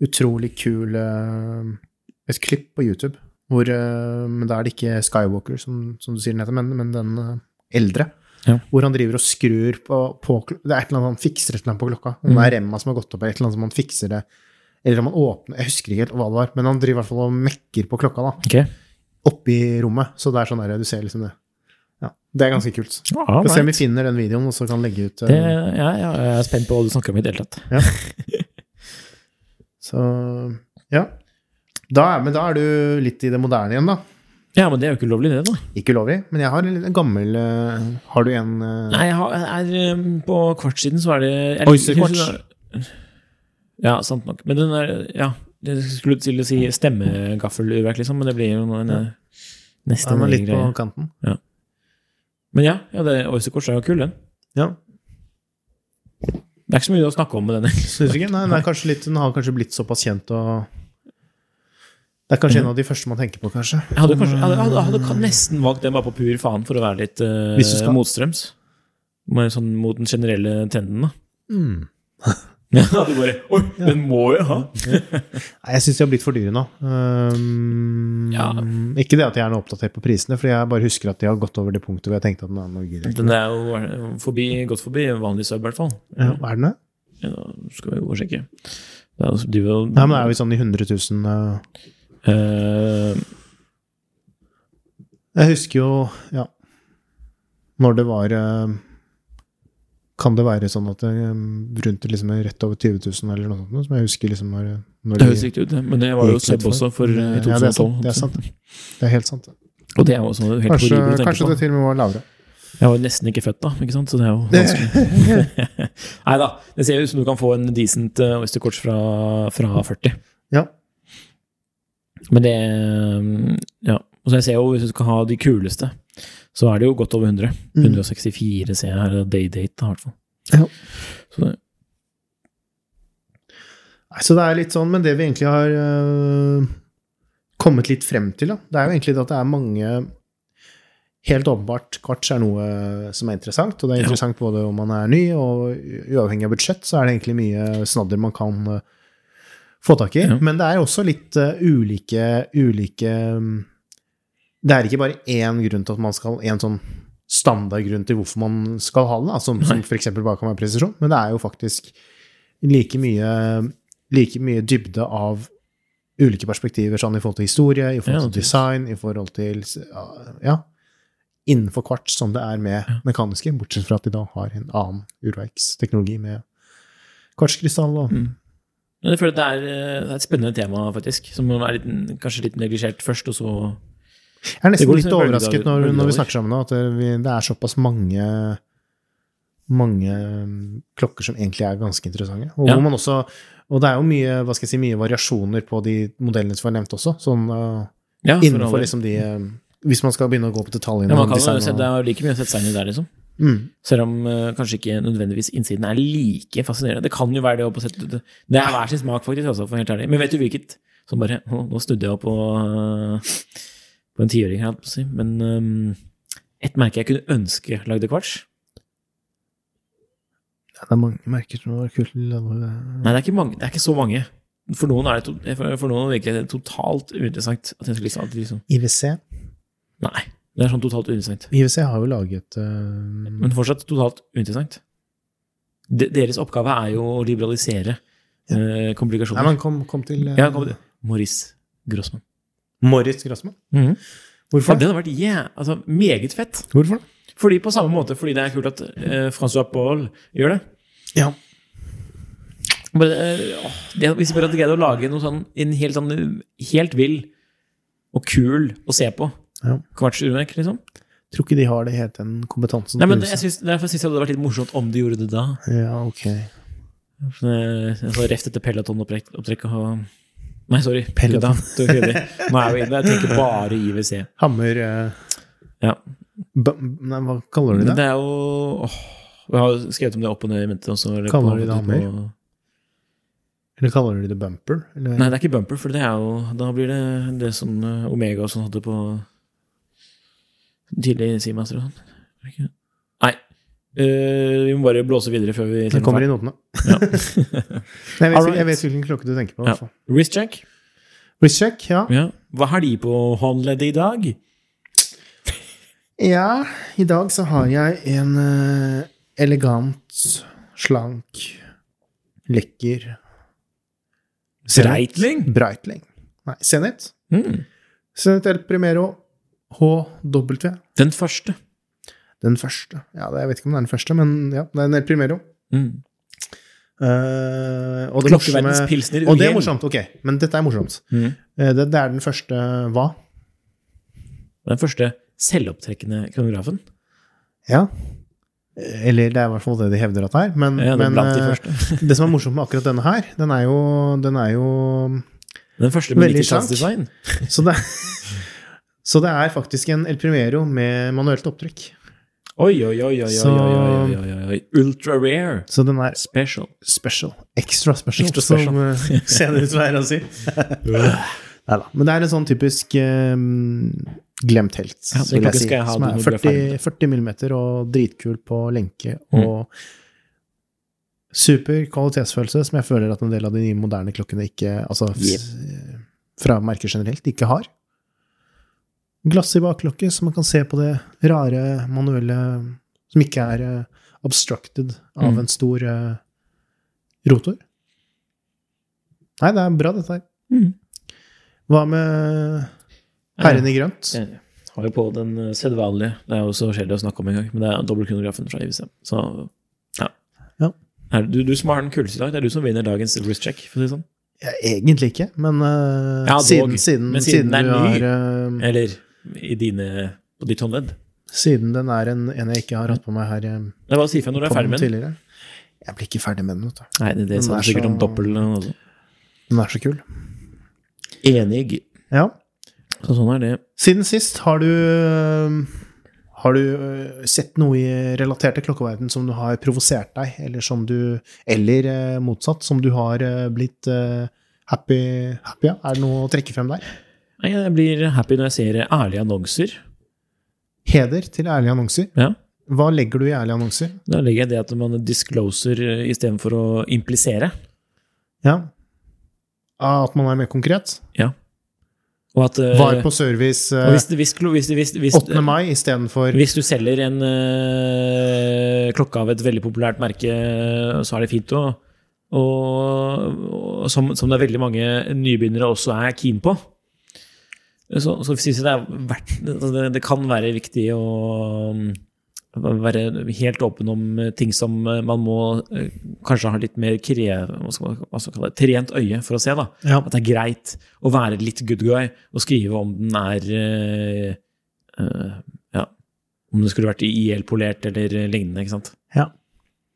B: Utrolig kul eh, Et klipp på YouTube hvor eh, Men da er det ikke Skywalker, som, som du sier den heter, men, men den eh, eldre.
A: Ja.
B: Hvor han driver og skrur på, på kl- Det er et eller annet han fikser et eller annet på klokka. Om det
A: Mm.
B: er remma som har gått opp, eller et eller annet som han fikser det. Eller om han åpner Jeg husker ikke helt hva det var, men han driver i hvert fall og mekker på klokka, da.
A: Ok.
B: Oppi rommet. Så det er sånn der, du ser liksom det. Ja, det er ganske kult.
A: Ja,
B: Vi får se
A: nei.
B: om vi finner den videoen, og så kan legge ut eh,
A: det, ja, ja, jeg er spent på hva du snakker om i det hele tatt.
B: Så ja. Da er, men da er du litt i det moderne igjen, da.
A: Ja, men det er jo ikke ulovlig, det, da.
B: Ikke ulovlig, men jeg har en liten gammel eh, Har du en eh,
A: Nei, jeg har, jeg er, um, på kvartsiden så er det jeg-
B: Oysterkvarts.
A: jeg synes det er- Ja, sant nok. Men den er Ja, jeg skulle til å si stemmegaffelurverk, liksom, men det blir jo noe, en, nesten en
B: Den er
A: egen
B: litt på
A: greie.
B: kanten.
A: Men ja, ja det, Oysterkvarts er jo kul, den.
B: Ja.
A: Det er ikke så mye å snakke om med den.
B: Syns du ikke? Nei, den, er kanskje litt, den har kanskje blitt såpass kjent og Det er kanskje en av de første man tenker på, kanskje.
A: Jeg hadde, kanskje, jeg hadde, jeg hadde, jeg hadde nesten valgt den bare på pur faen for å være litt eh,
B: Hvis du skal. Mm.
A: motstrøms. Men Sånn, mot den generelle trenden, da. *laughs* Ja, du bare Oi, den må jeg ha!
B: Nei, jeg syns de har blitt for dyre nå. Ehm,
A: Ja.
B: Ikke det at jeg er noe oppdatert på prisene, for jeg bare husker at de har gått over det punktet hvor jeg tenkte at nei, nå gidder jeg ikke.
A: *laughs* Den er jo forbi, gått forbi vanlig sub, i hvert fall.
B: Ja, er den det?
A: Ja, skal vi gå og sjekke. Det er jo, de vil,
B: Nei, men det er jo sånn i 100 000 eh,
A: Eh,
B: Jeg husker jo ja, når det var eh, Kan det være sånn at det eh, rundt liksom rett over 20 000 eller noe sånt? Som jeg husker liksom når, når
A: det høres riktig ut, det. men det var jo
B: Gikk litt
A: sub også for, eh, i
B: Ja, det er
A: 2012.
B: sant. Det er sant. Det er helt sant.
A: Og det er jo også helt
B: Kanskje,
A: horribelt å tenke
B: kanskje
A: på.
B: det til og med var lavere.
A: Jeg var jo nesten ikke født da, ikke sant? så det er jo vanskelig. *laughs* Nei da, det ser jo ut som du kan få en decent eh, Oyster Coach fra, fra 40.
B: Ja.
A: Men det eh, Ja. Og så jeg ser jo, hvis du skal ha de kuleste, så er det jo godt over 100.
B: Mm.
A: 164 ser jeg her, Daydate da, i hvert fall.
B: Ja.
A: Så det,
B: Nei, Så det er litt sånn, men det vi egentlig har øh, kommet litt frem til, da, det er jo egentlig det at det er mange Helt åpenbart, kvarts er noe eh, som er interessant, og det er
A: Ja.
B: interessant både om man er ny, og u- uavhengig av budsjett, så er det egentlig mye snadder man kan øh, få tak i.
A: Ja.
B: Men det er jo også litt øh, ulike, ulike øh, Det er ikke bare én grunn til at man skal En sånn standardgrunn til hvorfor man skal ha den, da, som, som f.eks. bare kan være presisjon, men det er jo faktisk like mye, like mye dybde av ulike perspektiver, sånn i forhold til historie, i
A: Ja,
B: forhold til
A: naturligvis.
B: design, i forhold til Ja. Innenfor kvarts som det er med mekaniske, bortsett fra at de da har en annen urverksteknologi med kvartskrystall og
A: Mm. Men jeg føler at det er, eh, det er et spennende tema, faktisk. Som er litt, kanskje litt neglisjert først, og så
B: Jeg er
A: Det
B: nesten
A: går
B: litt
A: liksom i bølgedaler-
B: overrasket når, når vi
A: bølgedaler.
B: snakker sammen nå, at det- vi, det er såpass mange mange um, klokker som egentlig er ganske interessante. Og,
A: Ja.
B: hvor man også, og det er jo mye, hva skal jeg si, mye variasjoner på de modellene som var nevnt også. Sånn uh,
A: ja, for all
B: innenfor
A: del.
B: liksom de um, Hvis man skal begynne å gå på detaljene.
A: ja, man
B: om
A: kan jo
B: design
A: se,
B: og-
A: Det er jo like mye å sette seg inn i der, liksom.
B: mm,
A: Selv om eh, kanskje ikke nødvendigvis innsiden er like fascinerende. Det kan jo være det å på sett Det det er hver sin smak, faktisk, altså, for å være helt ærlig. Men vet du hvilket? Som bare *laughs* Å, nå snudde jeg opp på, eh, på en tiåring, holdt jeg på å si. Men um, et merke jeg kunne ønske lagde kvarts.
B: ja, det er mange merker som var kult. det var-
A: Nei, det er ikke, mange, det er ikke så mange. For noen er det to, eh, for for noen er det virkelig totalt uinteressant. At jeg skulle liksom, at de liksom
B: IWC.
A: Nei. Det er sånn totalt uinteressant.
B: IWC har jo laget um,
A: Men fortsatt totalt uinteressant. De, deres oppgave er jo å liberalisere eh,
B: Nei,
A: komplikasjoner.
B: man kom, kom til uh,
A: ja, kom til. Maurice Grossman.
B: Moritz Grassmann.
A: For
B: Hvorfor det?
A: det hadde vært yeah, altså, meget fett.
B: Hvorfor det?
A: Fordi på samme måte, fordi det er kult at eh, Francois Paul gjør det.
B: Ja.
A: Bare, eh, åh, det hvis vi bare hadde greid å lage noe sånn, en helt, sånn, helt vill og kul å se på.
B: Ja.
A: Kvarts urverk, liksom.
B: Tror ikke de har det helt den kompetansen.
A: Nei,
B: til
A: men
B: huset.
A: jeg synes, Derfor syns jeg det hadde vært litt morsomt om de gjorde det da.
B: Ja, ok.
A: Sånn, eh, Altså, reft etter Peloton-opptrekket og Nei, sorry.
B: Peloton.
A: Gutta, det var kjedelig. Nå er vi inne. Jeg tenker bare IWC.
B: Hammer eh,
A: Ja.
B: b Nei, hva kaller du
A: Men
B: det?
A: det er jo åh, Jeg har jo skrevet om det opp og ned i mente. Også, eller
B: Kaller de det
A: på-
B: hammer? Eller kaller du det bumper? Eller?
A: Nei, det er ikke bumper, for det er jo Da blir det det som eh, Omega og sånn hadde på tidlig Seamaster og sånn. Er det ikke- Nei. Eh, vi må bare blåse videre før vi
B: det kommer i notene.
A: Ja.
B: Nei, jeg, vet,
A: Alright.
B: jeg vet hvilken klokke du *laughs* tenker på. i hvert
A: Ja.
B: fall.
A: Wrist check.
B: Wristcheck, ja.
A: Ja. Hva har de på håndleddet i dag?
B: Ja, i dag så har jeg en eh, elegant, slank, lekker
A: Breitling?
B: Breitling. Nei, Zenit.
A: Mm.
B: Zenit El Primero HW.
A: Den første.
B: Den første. Ja, det- jeg vet ikke om det er den første, men ja, det er en El Primero.
A: Mm.
B: Eh, og det
A: Klokkeverdens
B: morsomme-
A: pilsner.
B: Og det er
A: igjen.
B: morsomt, ok. Men dette er morsomt.
A: Mm.
B: Eh, Det, det er den første hva?
A: Den første selvopptrekkende kronografen.
B: Ja. Eh, Eller det er i hvert fall det de hevder at det er. Men,
A: Ja, det er
B: men
A: blant de
B: eh,
A: første. *laughs*
B: det som er morsomt med akkurat denne her, den er jo, den er jo
A: Den første med
B: veldig slank.
A: 90-tallsdesign.
B: så, det, *laughs* så det er faktisk en El Primero med manuelt opptrykk.
A: Oi, oi, oi, oi, oi,
B: Så-
A: oi, oi, oi, oi, oi. Ultra rare.
B: Så den er
A: Special.
B: special. Extra special,
A: Extra special.
B: som
A: *laughs*
B: eh, ser det ut som det er å si. Neida, Men det er en sånn typisk eh, glemt helt,
A: Ja, det
B: vil
A: klokken
B: jeg si.
A: skal jeg ha
B: Som
A: når
B: er
A: du er ferdig Mm.
B: 40, 40 millimeter og dritkul på lenke og Super kvalitetsfølelse som jeg føler at en del av de nye moderne klokkene ikke Altså f- fra merker generelt ikke har. Glass i bakklokke, så man kan se på det rare manuelle Som ikke er eh, obstructed av
A: Mm.
B: en stor eh, rotor. Nei, det er bra, dette her.
A: Mm.
B: Hva med herren i grønt?
A: Jeg har jo på den eh, sedvanlige. Det er jo så kjedelig å snakke om engang, men det er dobbeltkonografen fra IWC. Så ja.
B: Ja.
A: Er, du, du som har den kuleste i dag, det er du som vinner dagens Silver's Check, for å si det sånn.
B: Ja, egentlig ikke, men eh,
A: Ja, dog.
B: siden, siden,
A: Men siden
B: siden,
A: den er
B: du
A: ny.
B: har eh,
A: Eller i dine, på ditt håndledd.
B: Siden den er en, en jeg ikke har hatt på meg her eh,
A: Det er bare å si ifra når du er
B: på
A: ferdig med den.
B: tidligere. Jeg blir ikke ferdig med den, vet du.
A: Nei, det, det
B: Den
A: sa
B: er
A: du sikkert
B: så-
A: om dobbel. eh, Også.
B: Den er så kul.
A: Enig.
B: Ja.
A: Så sånn er det.
B: Siden sist, har du eh, Har du eh, sett noe i relaterte klokkeverden som du har provosert deg, eller som du Eller eh, motsatt, som du har eh, blitt eh, happy happy av? Er det noe å trekke frem der?
A: Nei, jeg blir happy når jeg ser ærlige annonser.
B: Heder til ærlige annonser.
A: Ja.
B: Hva legger du i ærlige annonser?
A: Da legger jeg det at man discloser eh, istedenfor å implisere.
B: Ja. At man er mer konkret?
A: Og at eh,
B: Var på service
A: og
B: eh,
A: hvis, hvis, hvis, hvis, hvis,
B: 8. mai istedenfor
A: Hvis du selger en eh, klokke av et veldig populært merke, så er det fint å og, og som, som det er veldig mange nybegynnere også er keen på. Så, så synes jeg det, er verdt, altså det, det kan være viktig å mm, være helt åpen om eh, ting som eh, man må eh, kanskje ha litt mer kre, hva skal man, hva skal man kalle det, trent øye for å se. da.
B: Ja.
A: At det er greit å være litt good guy og skrive om den er eh, eh, Ja, om den skulle vært IL-polert eller eh, lignende, ikke sant.
B: Ja.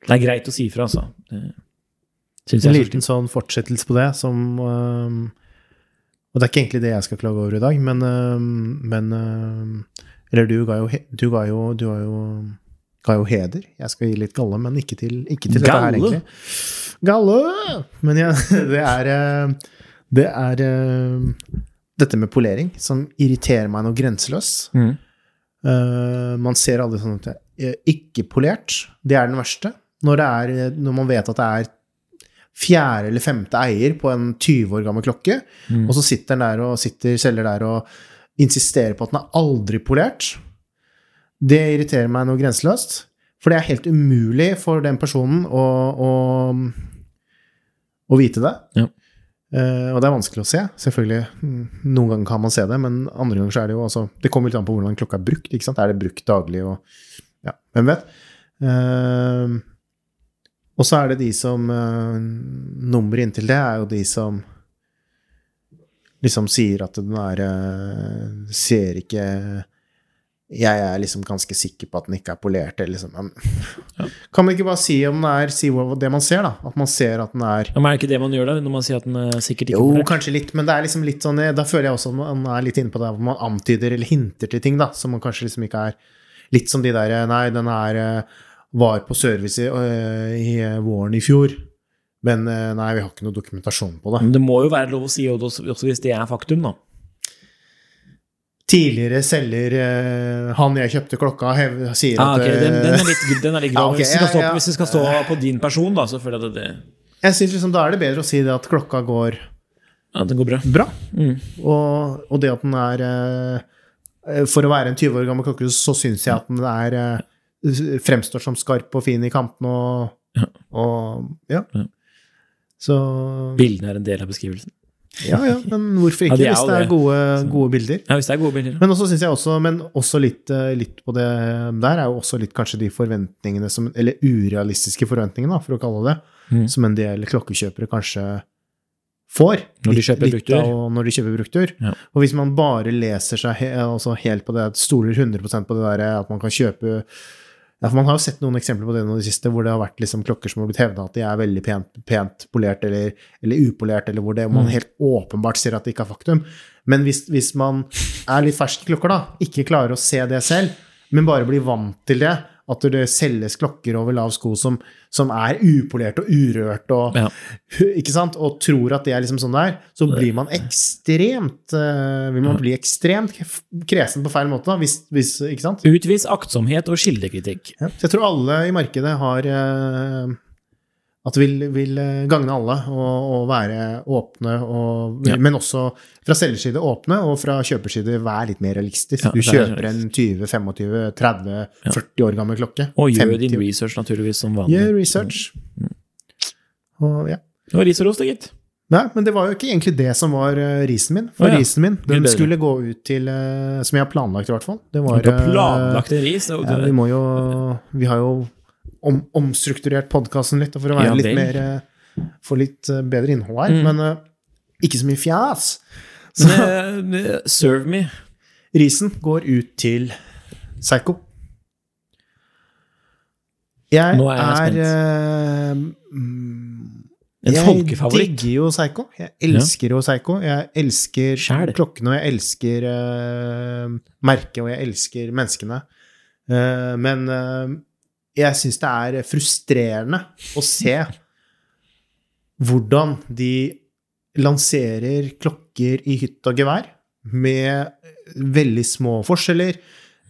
A: Det er greit å si ifra, altså. Det synes
B: En
A: jeg. er
B: liten sånn fortsettelse på det som øhm, Og det er ikke egentlig det jeg skal klage over i dag, men, øhm, men øhm, Eller du ga jo, he- du ga jo, du ga jo, ga jo heder. Jeg skal gi litt galle, men ikke til, ikke til dette her,
A: Galle?
B: egentlig. Galle! Men jeg, *laughs* det er øh, Det er øh, dette med polering som irriterer meg noe grenseløst.
A: så- Mm.
B: Eh, man ser alle sånne ting. Eh, Ikke polert, det er den verste. Når, det er, eh, når man vet at det er fjerde eller femte eier på en 20 år gammel klokke,
A: Mm.
B: og så sitter den der og sitter selger der og insisterer på at den er aldri polert, det irriterer meg noe grenseløst. For det er helt umulig for den personen å, å, å vite det.
A: Ja.
B: Eh, og det er vanskelig å se, selvfølgelig. Mm, Noen ganger kan man se det, men andre ganger så er det jo altså Det kommer litt an på hvordan klokka er brukt. ikke sant? Er det brukt daglig og Ja, hvem vet? Eh, og så er det de som uh, Nummeret inntil det er jo de som liksom sier at den er eh, Ser ikke Jeg er liksom ganske sikker på at den ikke er polert, eller liksom men-
A: Ja.
B: *laughs* Kan man ikke bare si om den er Si hva- det man ser, da? At man ser at den er
A: Ja, men er det ikke det man gjør da, når man sier at den er sikkert ikke
B: jo,
A: populær?
B: kanskje litt, men det er liksom litt sånn eh, Da føler jeg også at man er litt inne på det hvor man antyder eller hinter til ting, da, som man kanskje liksom ikke er Litt som de der eh, Nei, den er eh, var på service i, eh, i eh, våren i fjor, men eh, nei, vi har ikke noe dokumentasjon på det.
A: Men det må jo være lov å si også, også hvis det er faktum, da.
B: tidligere selger eh, Han jeg kjøpte klokka, hev, sier
A: Ah,
B: at
A: ok, den,
B: eh,
A: den er litt, den er litt grov.
B: *laughs* Ja, ok,
A: hvis, det skal
B: ja,
A: stå, på-
B: ja.
A: hvis det skal stå på din person, da, så føler jeg at det,
B: Jeg synes liksom Da er det bedre å si det at klokka går
A: at det går bra.
B: bra,
A: Mm.
B: og, og det at den er eh, eh, For å være en 20 år gammel klokke, så syns jeg at den er eh, fremstår som skarp og fin i kantene og,
A: Ja.
B: og Ja.
A: Ja.
B: Så
A: Bildene er en del av beskrivelsen.
B: Ja, ja, men hvorfor
A: Ja,
B: ikke,
A: de er
B: hvis
A: jo
B: det
A: det.
B: er gode, gode bilder?
A: Ja, hvis det er gode bilder.
B: Men også synes jeg også, men også litt, eh, litt på det der, er jo også litt kanskje de forventningene som Eller urealistiske forventningene, da, for å kalle det
A: Mm.
B: som en del klokkekjøpere kanskje får.
A: Når de
B: Litt-
A: kjøper
B: litt
A: bruktur.
B: av- Når de kjøper bruktur.
A: Ja.
B: Og hvis man bare leser seg he altså helt på det, stoler 100 på det der at man kan kjøpe ja, for Man har jo sett noen eksempler på det nå i det siste, hvor det har vært liksom klokker som har blitt hevda at de er veldig pent, pent polert eller, eller upolert, eller hvor det, man
A: Mm.
B: helt åpenbart ser at det ikke er faktum. Men hvis, hvis man er litt fersk i klokker, da, ikke klarer å se det selv, men bare blir vant til det, at det selges klokker over lav sko som, som er upolert og urørt og,
A: Ja.
B: ikke sant? og tror at det er liksom sånn det er, så blir man ekstremt eh, vil man bli ekstremt kresen på feil måte da, hvis, hvis ikke sant?
A: Utvis aktsomhet og kildekritikk.
B: Så jeg tror alle i markedet har eh, At det vil, vil eh, gagne alle å, å være åpne, og,
A: Ja.
B: men også fra selgers side åpne, og fra kjøpers side være litt mer realistisk.
A: Ja,
B: du
A: det er
B: kjøper en 20-25-30-40 år gammel klokke.
A: Og gjør
B: 50
A: din
B: år.
A: research, Mm. naturligvis, som vanlig.
B: Gjør research. Og ja.
A: Det var ris Mm. og ros, det, gitt.
B: Nei, men det var jo ikke egentlig det som var eh, risen min. For
A: Å, ja.
B: risen min,
A: Gud
B: den
A: bedre.
B: skulle gå ut til eh, Som jeg har planlagt, i hvert fall. Det var
A: Du har
B: eh,
A: planlagt en ris. og
B: ja,
A: du-
B: Vi må jo Vi har jo om, omstrukturert podkasten litt, og for å være
A: Ja,
B: litt
A: vel. Mm.
B: mer eh, Få litt eh, bedre innhold her. Men eh, ikke så mye fjas. Så
A: Men, eh, Serve me.
B: risen går ut til Psycho. Jeg
A: Nå er jeg
B: er,
A: spent.
B: eh, mm,
A: En folkefavoritt.
B: Jeg digger jo Psycho. Jeg elsker jo Psycho. Jeg elsker
A: Sjæl.
B: klokkene, og jeg elsker eh, merket, og jeg elsker menneskene. Eh, men eh, jeg syns det er frustrerende å se hvordan de lanserer klokker i hytt og gevær med eh, veldig små forskjeller.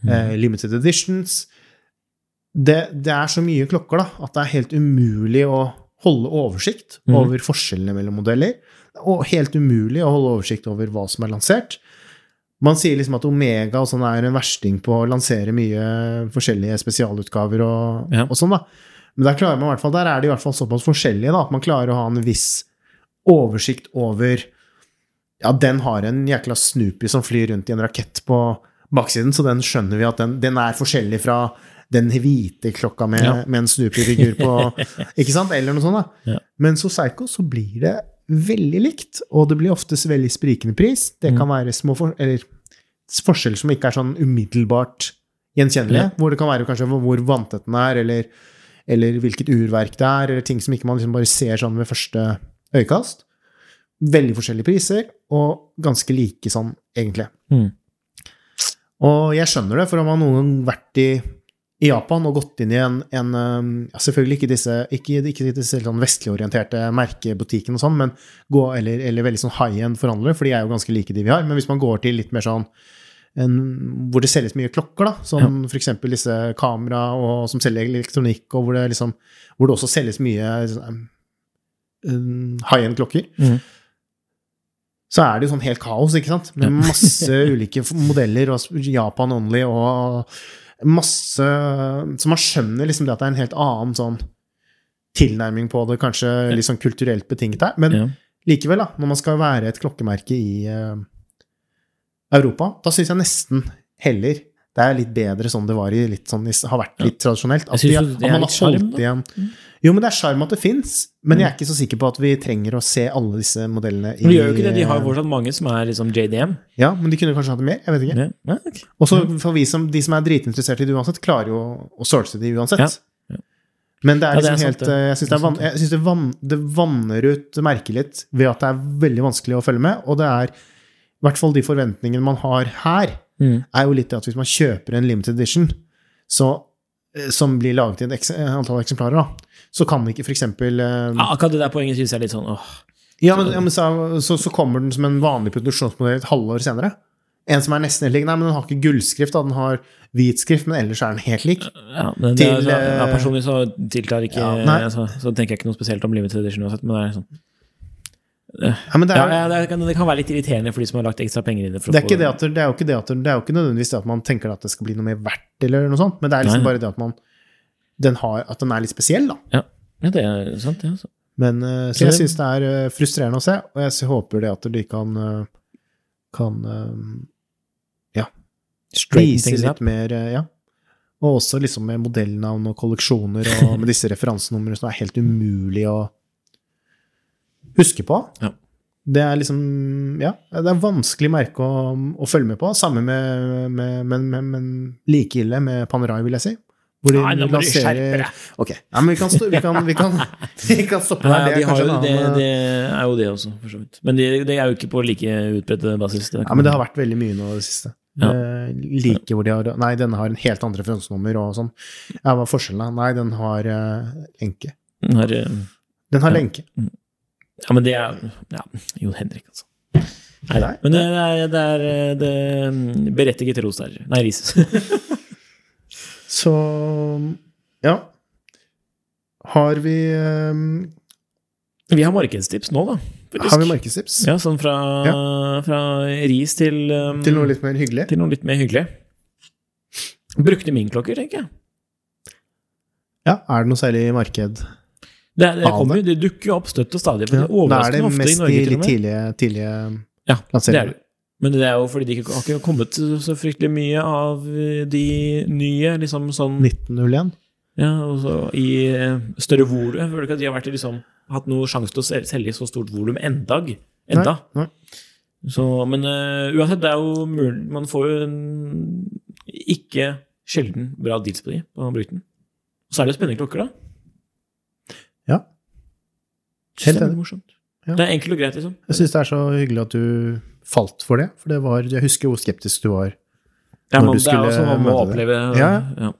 B: eh, limited editions det, det er så mye klokker da, at det er helt umulig å holde oversikt
A: Mhm.
B: over forskjellene mellom modeller. Og helt umulig å holde oversikt over hva som er lansert. Man sier liksom at Omega og sånn er en versting på å lansere mye forskjellige spesialutgaver og,
A: Ja.
B: og sånn, da. Men der, klarer man i hvert fall, der er de i hvert fall såpass forskjellige da, at man klarer å ha en viss oversikt over Ja, den har en jækla Snoopy som flyr rundt i en rakett på baksiden, så den skjønner vi at den, den er forskjellig fra den hvite klokka med,
A: Ja.
B: med en Snoopy-figur
A: *laughs*
B: på Ikke sant? Eller noe sånt, da.
A: Ja.
B: Men hos Psycho så blir det veldig likt, og det blir oftest veldig sprikende pris. Det
A: Mm.
B: kan være små for, eller, s- forskjeller som ikke er sånn umiddelbart gjenkjennelige,
A: Ja.
B: hvor det kan være kanskje hvor- hvor vanntett den er, eller, eller hvilket urverk det er, eller ting som ikke man liksom bare ser sånn ved første øyekast. Veldig forskjellige priser, og ganske like sånn, egentlig.
A: Mm.
B: Og jeg skjønner det, for om man noen gang vært i, i Japan og gått inn i en, en um, ja, Selvfølgelig ikke disse, ikke, ikke disse helt sånn vestlig orienterte merkebutikkene og sånn, men gå, eller, eller veldig sånn high-end forhandlere, for de er jo ganske like de vi har. Men hvis man går til litt mer sånn en, hvor det selges mye klokker, da, som for f.eks. disse kamera og som selger elektronikk, og hvor det, liksom, hvor det også selges mye sånn, um, high-end-klokker,
A: Mhm.
B: så er det jo sånn helt kaos, ikke sant?
A: *laughs*
B: Med masse ulike f- modeller, og Japan only, og masse Så man skjønner liksom det at det er en helt annen sånn tilnærming på det, kanskje litt sånn kulturelt betinget her. Men
A: Ja.
B: likevel, da, når man skal være et klokkemerke i eh, Europa, da syns jeg nesten heller det er litt bedre sånn det var i, litt sånn, har vært litt tradisjonelt. At,
A: Jeg
B: de,
A: synes
B: at
A: jo det er
B: man har
A: litt sjarm,
B: holdt
A: da.
B: igjen Jo, men det er sjarm at det fins, men jeg er ikke så sikker på at vi trenger å se alle disse modellene i
A: Mm. Men de gjør jo ikke det. De har jo fortsatt mange som er liksom JDM.
B: Ja, men de kunne kanskje hatt mer? Jeg vet ikke.
A: Ja. Ja, ok.
B: Og så for vi som, de som er dritinteressert i det uansett, klarer jo å source det uansett.
A: Ja.
B: Men det er
A: Ja, det er
B: liksom
A: sant,
B: helt
A: det.
B: eh, Jeg syns det, er van- jeg synes det, van, det vanner ut merket litt ved at det er veldig vanskelig å følge med, og det er i hvert fall de forventningene man har her,
A: Mm.
B: er jo litt det at hvis man kjøper en limited edition så, eh, som blir laget i et eks- antall eksemplarer, da, så kan ikke eh, f.eks.
A: Ja, Ah, akkurat det der poenget syns jeg er litt sånn åh.
B: Ja, men, ja, men så, så, så kommer den som en vanlig produksjonsmodell et halvår senere. En som er nesten helt lik. Nei, men den har ikke gullskrift, da. Den har hvit skrift, men ellers er den helt lik.
A: Ja, men det,
B: Til,
A: er sånn- ja,
B: eh,
A: personlig så tiltar ikke
B: ja, nei.
A: altså, Så tenker jeg ikke noe spesielt om limited edition uansett, men det er sånn
B: Ja, men det
A: ja,
B: er,
A: ja, det, kan, det kan være litt irriterende for de som har lagt ekstra penger i det. for å
B: det er,
A: få
B: ikke det at, det, er jo ikke det at, det er jo ikke nødvendigvis det at man tenker at det skal bli noe mer verdt, eller noe sånt, men det er liksom
A: Nei.
B: bare det at, man, den har, at den er litt spesiell, da.
A: Ja, ja det er sant, det. Altså.
B: Men, eh,
A: Så
B: så jeg
A: det-
B: syns det er eh, frustrerende å se, og jeg s- håper det at de kan, eh, kan eh,
A: Straighten
B: vise
A: things
B: litt
A: up.
B: mer eh, Ja. Og også liksom med modellnavn og kolleksjoner
A: *laughs*
B: og med disse referansenumrene som er helt umulig å huske på.
A: Ja.
B: Det er liksom Ja, det er vanskelig merke å, å følge med på. Samme med, med, men- men- men like ille med Panerai, vil jeg si. Hvor de
A: Nei, nå må du skjerpe
B: lanserer
A: deg!
B: Ok. Nei, men vi kan, stå, vi kan, vi kan, *laughs* vi kan stoppe
A: Nei,
B: der.
A: de har
B: kanskje
A: jo,
B: en
A: det,
B: annen- eh,
A: det er jo det også, for så vidt. Men det det er jo ikke på like utbredt basis.
B: Ja, men det har vært veldig mye nå i det siste.
A: Ja.
B: Eh, Like hvor de har Nei, denne har en helt andre referansenummer og sånn. Ja, hva er forskjellen, da? Nei, den har eh, lenke.
A: har, eh,
B: Den har
A: Ja.
B: lenke.
A: Ja, men det er ja, Jon Henrik, altså. Nei,
B: Nei.
A: men det er, det er eh, det mm, berettiget ros der. Nei, ris.
B: Så ja. Har vi, eh,
A: *laughs* Vi har markedstips nå, da. faktisk.
B: har vi markedstips?
A: Ja, sånn fra, fra ris til, um,
B: Til noe litt mer hyggelig?
A: til noe litt mer hyggelig. Brukte min klokker, tenker jeg.
B: Ja, er det noe særlig marked?
A: Det, det,
B: Faen,
A: kommer, det dukker jo opp støtt og stadig. men det er
B: Da er det
A: Overraskende ofte i
B: mest
A: Norge,
B: de
A: til og
B: litt
A: med.
B: tidlige, tidlige
A: Ja, det er
B: lanseringene.
A: det. Men det er jo fordi det ikke har ikke kommet så fryktelig mye av eh, de nye liksom sånn
B: 1901.
A: ja, og så I eh, større volum. Jeg føler ikke at de har vært, i liksom, hatt noe sjanse til å sel- selge i så stort volum endag. Enda.
B: Nei, nei.
A: Så, men eh, uansett, det er jo mulig Man får jo en ikke sjelden bra deals på de på brukten. Og så er det jo spennende klokker, da.
B: Ja.
A: Synes
B: Helt
A: det er
B: enig.
A: veldig morsomt.
B: Ja.
A: Det er enkelt og greit, liksom.
B: Jeg syns det er så hyggelig at du falt for det. For det var, jeg husker hvor skeptisk du var.
A: Ja,
B: Når
A: man,
B: du
A: det er jo
B: skulle
A: sånn man må
B: møte det.
A: oppleve
B: Ja,
A: ja.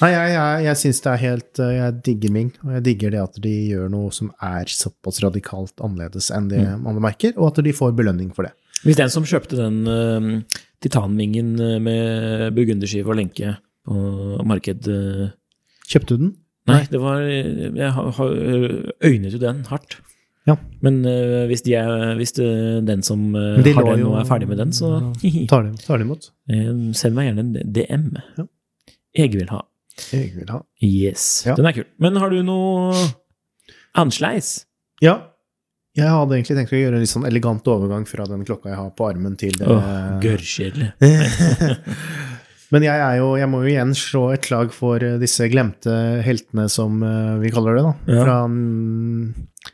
B: Nei, jeg, jeg, jeg syns det er helt eh, Jeg digger Ming, og jeg digger det at de gjør noe som er såpass radikalt annerledes enn det
A: Mm.
B: andre merker, og at de får belønning for det.
A: Hvis den som kjøpte den eh, titanmingen eh, med burgunderskive og lenke på marked eh,
B: Kjøpte du den?
A: Nei,
B: Nei.
A: det var Jeg har- har øynet jo den hardt.
B: Ja.
A: Men eh, hvis, de er, hvis eh, den som eh,
B: Men de
A: har
B: lå
A: den
B: jo-
A: og er ferdig med den,
B: *laughs*
A: så
B: Tar de, tar de imot?
A: Eh, *laughs* send meg gjerne en DM.
B: Ja.
A: Jeg vil ha.
B: Jeg vil ha.
A: Yes.
B: Ja.
A: Den er kul. Men har du noe ansleis?
B: Ja. Jeg hadde egentlig tenkt å gjøre en litt sånn elegant overgang fra den klokka jeg har på armen, til det
A: Åh, Gørrkjedelig.
B: *laughs* Men jeg, er jo, jeg må jo igjen slå et slag for eh, disse glemte heltene, som eh, vi kaller det. da.
A: Ja.
B: Fra, mm,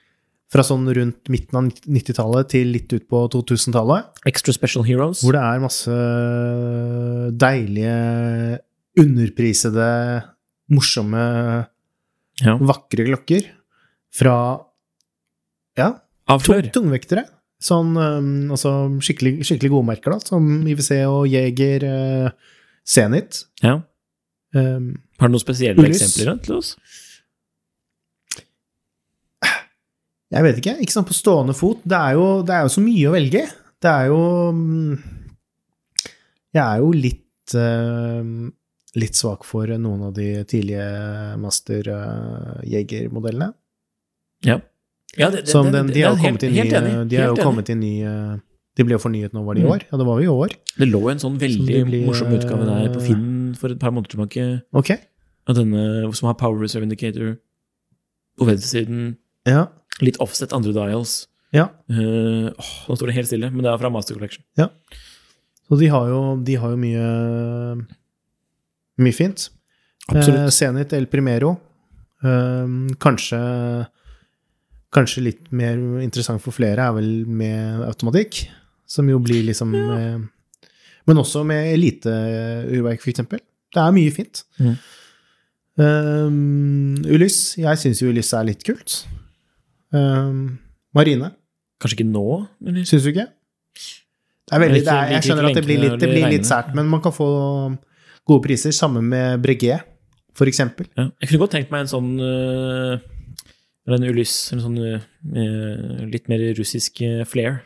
B: fra sånn rundt midten av 90-tallet til litt ut på 2000-tallet.
A: Extra Special Heroes.
B: Hvor det er masse deilige, underprisede, morsomme,
A: Ja.
B: vakre klokker. Fra ja,
A: Avslør.
B: tungvektere. Sånn, um, altså skikkelig, skikkelig gode merker, da, som IWC og Jeger, uh, Zenit.
A: Ja.
B: Um,
A: Har du noen spesielle
B: Ulyss.
A: eksempler da, til oss?
B: Jeg vet ikke. Ikke sånn på stående fot. Det er, jo, det er jo så mye å velge i. Det er jo mm, Jeg er jo litt eh, Litt svak for noen av de tidlige Master eh, Jeger-modellene.
A: Ja. Ja, det- det-
B: Som
A: det-
B: den, de
A: det-
B: har
A: det
B: jo
A: er
B: kommet i
A: helt-
B: ny
A: helt enig,
B: De har
A: helt
B: jo
A: enig.
B: kommet i ny eh, De ble jo fornyet nå, var det i
A: Mm.
B: år? Ja, det var jo i år.
A: Det lå en sånn veldig
B: Som det blir,
A: morsom utgave der på
B: eh,
A: Finn for et par måneder tilbake.
B: Ok.
A: Av denne som har Power Reserve Indicator på venstresiden.
B: Ja.
A: Litt offset andre dials.
B: ja.
A: Eh, åh, nå står det helt stille, men det er fra Master Collection.
B: Så de har jo, de har jo mye Mye fint. Eh,
A: Absolutt.
B: Zenit El Primero. Um, kanskje, kanskje litt mer interessant for flere er vel med automatikk, som jo blir liksom eh, Men også med eh, eliteurverk, f.eks. Det er mye fint.
A: Mhm.
B: Um, Ulyss. Jeg syns jo Ulyss er litt kult. Um, Marine.
A: Kanskje ikke nå, eller?
B: Syns du ikke? Det er veldig, det er,
A: Liker-
B: jeg
A: liker
B: skjønner at det blir
A: lenkene
B: litt, det
A: og de
B: blir litt
A: regnene.
B: sært, men man kan få gode priser. Sammen med Breguet, for eksempel.
A: Ja. Jeg kunne godt tenkt meg en sånn eh, Eller en Ulyss, en sånn eh, litt mer russisk eh, flair.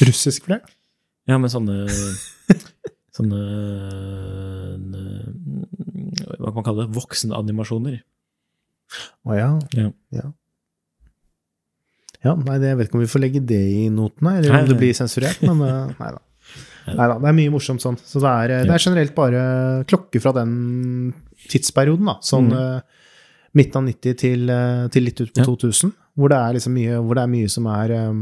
B: Russisk for det?
A: Ja, med sånne *laughs* Sånne øh, Hva kan man kalle det? Voksenanimasjoner.
B: Å ja.
A: Ja.
B: ja. Ja, nei, det, jeg vet ikke om vi får legge det i notene, eller
A: Nei,
B: om det
A: nei.
B: blir sensurert, men
A: *laughs*
B: eh, nei da. Nei da, det er mye morsomt sånn. Så det er, eh, det er generelt bare klokker fra den tidsperioden, da. Sånn eh, midten av 90 til, eh, til litt ut på
A: Mm. Ja.
B: 2000, hvor det er liksom mye, hvor det er mye som er um,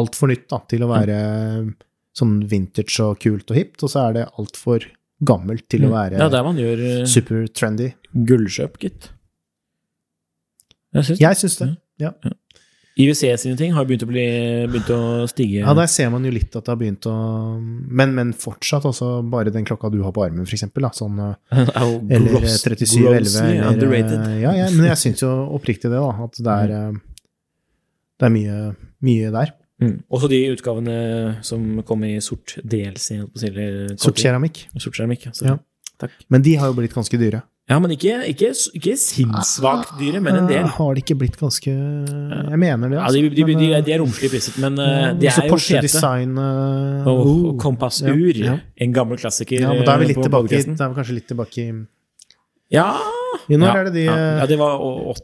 B: altfor nytt da, til å være eh, sånn vintage og kult og hipt, og så er det altfor gammelt til å være
A: Mm. Ja, der man gjør øh,
B: super trendy.
A: gullkjøp, gitt. Jeg synes
B: Jeg syns det.
A: IWC sine ting har begynt å, bli, begynt å stige. *laughs*
B: Ja, der ser man jo litt at det har begynt å Men, men fortsatt, altså bare den klokka du har på armen, for eksempel. Da, sånn, eh,
A: er jo
B: eller eh,
A: gross-
B: 3711.
A: grossly
B: eller, eh,
A: underrated.
B: Ja, ja, men jeg syns jo oppriktig det, da. At det er, eh, det er mye, mye der.
A: Mm. Også de utgavene som kom i sort DLC. holdt på å si, eller-
B: Sort keramikk.
A: Sort keramikk, ja. Så-
B: Ja.
A: Takk.
B: Men de har jo blitt ganske dyre.
A: Ja, men ikke, ikke, ikke
B: Ah.
A: sinnssvakt dyre, men en del.
B: Eh, Har de ikke blitt ganske Jeg mener det,
A: Ja, de, de,
B: men,
A: de,
B: eh,
A: de er romslig priset, men eh,
B: ja,
A: de
B: også
A: er jo
B: Porsche
A: fete.
B: Design eh,
A: Og,
B: oh.
A: og Kompass Ur,
B: Ja, ja.
A: en gammel klassiker.
B: Ja, men da er vi
A: eh,
B: litt
A: på
B: tilbake, i-
A: podcasten.
B: da er vi kanskje litt tilbake i
A: Ja
B: I når
A: ja,
B: er det de
A: ja.
B: eh,
A: ja, det var å-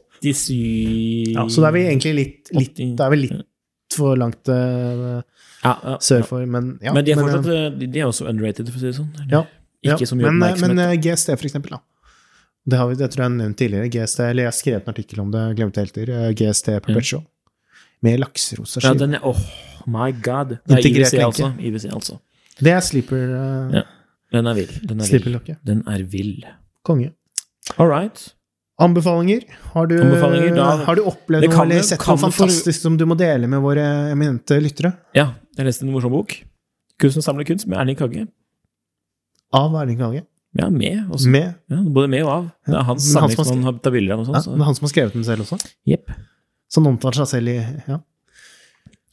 A: 87
B: ja, Så det er vi egentlig litt, litt
A: Åtti-
B: Det er vel litt for langt eh,
A: ja, ja.
B: sørfor, men ja.
A: Men de er
B: eh,
A: fortsatt eh, de- De er også underrated, for å si det sånn. Eller?
B: Ja,
A: Ikke
B: ja,
A: så mye
B: men, eh,
A: oppmerksomhet.
B: Men eh, GST, for eksempel, da. Det, har vi, det tror jeg jeg har nevnt tidligere. GST, eller jeg har skrevet en artikkel om det, glemte helt til. eh, GST Perpetual. Med lakserosa
A: ja,
B: skive.
A: den er Åh, my god. Det er
B: Integrert
A: IWC,
B: lenke.
A: altså. IWC, altså.
B: det er sleeper, eh,
A: Ja, Den er vill. Den er vill.
B: sleeperlokket.
A: Den er vill.
B: Konge.
A: All right.
B: Anbefalinger? Har du,
A: Anbefalinger, da-
B: har du opplevd
A: Det
B: noe
A: kan
B: eller
A: jo-
B: sett
A: kan
B: noe
A: jo for-
B: fantastisk som du må dele med våre eminente lyttere?
A: Ja, jeg leste en morsom bok. 'Kunsten samler kunst' med Erling Kagge.
B: Av Erling Kage?
A: Ja, med også.
B: Med
A: Ja, både med og av. Det er hans
B: Men han som
A: samling
B: har
A: som han tar bilder av. og
B: ja,
A: sånt,
B: det er
A: så.
B: han som har skrevet den selv også?
A: Jepp.
B: Så han omtaler seg selv i ja.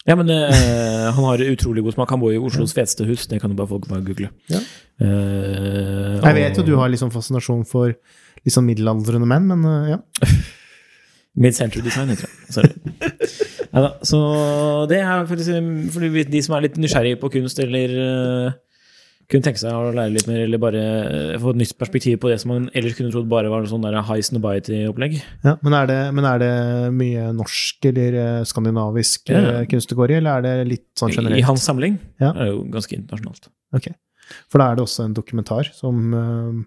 A: Ja, men eh, han har utrolig god smak. Han bor i Oslos feteste hus. Det kan jo bare folk bare google.
B: Ja.
A: Eh,
B: Jeg vet jo
A: og-
B: du har liksom fascinasjon for litt sånn middelaldrende menn, men eh, ja.
A: Mid-century design heter det.
B: *laughs*
A: Sorry. Neida, så det er faktisk um, for de- de som er litt nysgjerrige på kunst, eller eh, kunne tenke seg å lære litt mer, eller bare eh, få et nytt perspektiv på det som man ellers kunne trodd bare var en sånn der high snobiety-opplegg.
B: Ja, men, er det, men er det mye norsk eller eh, skandinavisk
A: Ja,
B: ja.
A: ja.
B: kunst det går i, eller er det litt sånn
A: I
B: generelt?
A: hans samling
B: Ja.
A: er det jo ganske internasjonalt.
B: For da er det også en dokumentar som eh,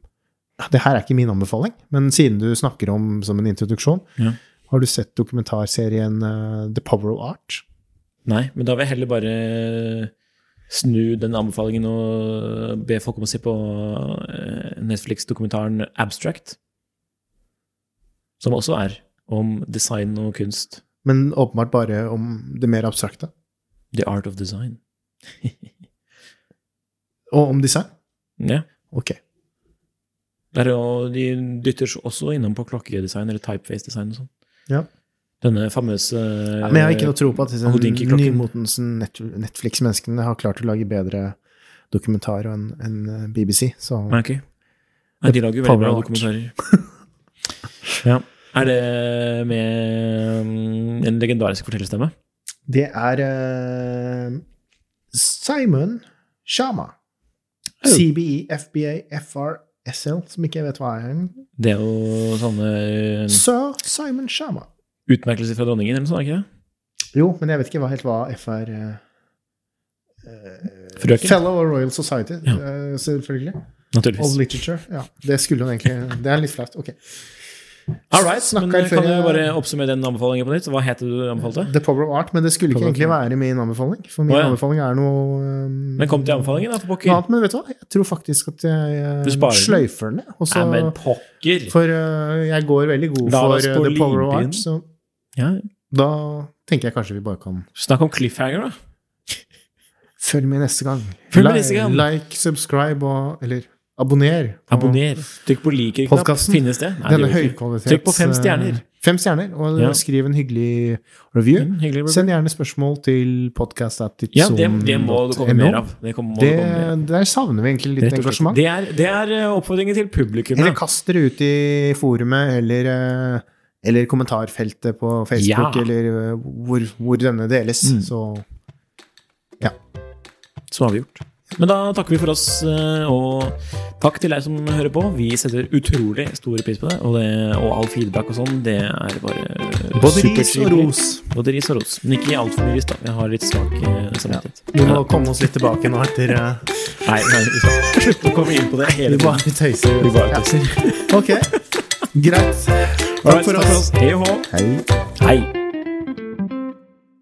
B: ja, Det her er ikke min anbefaling, men siden du snakker om som en introduksjon,
A: Ja.
B: har du sett dokumentarserien eh, The Power of Art?
A: Nei, men da vil jeg heller bare snu den anbefalingen og be folk om å se på eh, Netflix-dokumentaren Abstract. Som også er om design og kunst.
B: Men åpenbart bare om det mer abstrakte.
A: The art of design.
B: Og om design?
A: Ja.
B: Ok.
A: Der, er jo- de dytter også innom på klokkedesign eller typeface-design og sånn.
B: Ja.
A: Denne famøse
B: Men jeg har ikke noe tro på at disse
A: Hodinki-klokken.
B: nymotens net Netflix-menneskene har klart å lage bedre dokumentar enn eh, enn BBC. Så
A: Nei, ok. Nei, de lager jo veldig
B: Power
A: bra
B: Art.
A: dokumentarer. ja. Er det med mm, en legendarisk fortellerstemme?
B: det er eh, Simon Shama.
A: Oh.
B: CBE, FBA, FRSL, som ikke jeg vet hva er.
A: Det er jo sånne eh,
B: Sir Simon Shama.
A: utmerkelser fra dronningen, eller noe sånt, er det ikke det?
B: Jo, men jeg vet ikke hva, helt hva FR eh, eh,
A: Frøken?
B: Fellow of Royal Society,
A: Ja.
B: eh, selvfølgelig. Old
A: Naturligvis.
B: literature. Ja, det skulle hun egentlig Det er litt flaut. Ok.
A: All right, men eh,
B: Snakker før
A: kan du
B: jeg-
A: bare oppsummere den anbefalingen på nytt? Hva het det du anbefalte?
B: The Power of Art, men det skulle ikke
A: Power of
B: egentlig være min anbefaling. For min
A: Å, ja.
B: anbefaling er noe um,
A: Men kom til anbefalingen, da, for
B: noe
A: pokker.
B: annet. Men vet du hva, jeg tror faktisk at jeg
A: Du
B: eh,
A: sparer den.
B: sløyfer den. jeg. Og
A: Nei,
B: så,
A: men pokker!
B: for eh, jeg går veldig god
A: La
B: for
A: oss
B: eh,
A: på
B: The Power of
A: limpinnen.
B: Art, så
A: Ja.
B: da tenker jeg kanskje vi bare kan
A: Snakk om cliffhanger, da.
B: Følg med neste gang.
A: Følg med
B: Li-
A: neste gang.
B: Like, subscribe og Eller abonner. på
A: Abonner. Trykk på liker-knapp.
B: Podcasten.
A: Finnes det? Nei, det
B: Denne
A: gjør det ikke.
B: høykvalitets...
A: Trykk på fem stjerner.
B: eh, Fem stjerner, og
A: Ja.
B: skriv en hyggelig review.
A: Mm, hyggelig. Robert.
B: Send gjerne spørsmål til
A: Ja,
B: podkast.tidsson.no.
A: det, det må det komme mer av. Det kom, må det,
B: Det,
A: komme mer av.
B: der savner vi egentlig litt
A: Rett og slett.
B: engasjement.
A: Det er, det er eh, oppfordringen til publikum.
B: Eller
A: da.
B: kast dere ut i forumet eller, eh, eller kommentarfeltet på Facebook,
A: Ja.
B: eller eh, hvor, hvor denne deles.
A: Mm.
B: Så
A: Så har vi gjort. Men da takker vi for oss, eh, og takk til deg som hører på. Vi setter utrolig stor pris på det, og, det, og all feedback og sånn, det er bare eh,
B: både ris og
A: supertrivelig.
B: ros.
A: Både ris og ros. Men ikke altfor mye ris, da. Jeg har litt svak eh, samvittighet.
B: Vi må
A: Ja.
B: komme oss litt tilbake nå etter eh,
A: Nei, nei, vi skal slutte å komme inn på det hele
B: *laughs* Vi
A: tiden.
B: bare tøyser.
A: Vi bare
B: Ja.
A: tøyser.
B: Ok, greit. Takk
A: Alright,
B: for oss.
A: Hei og hå.
B: Hei.
A: Hei.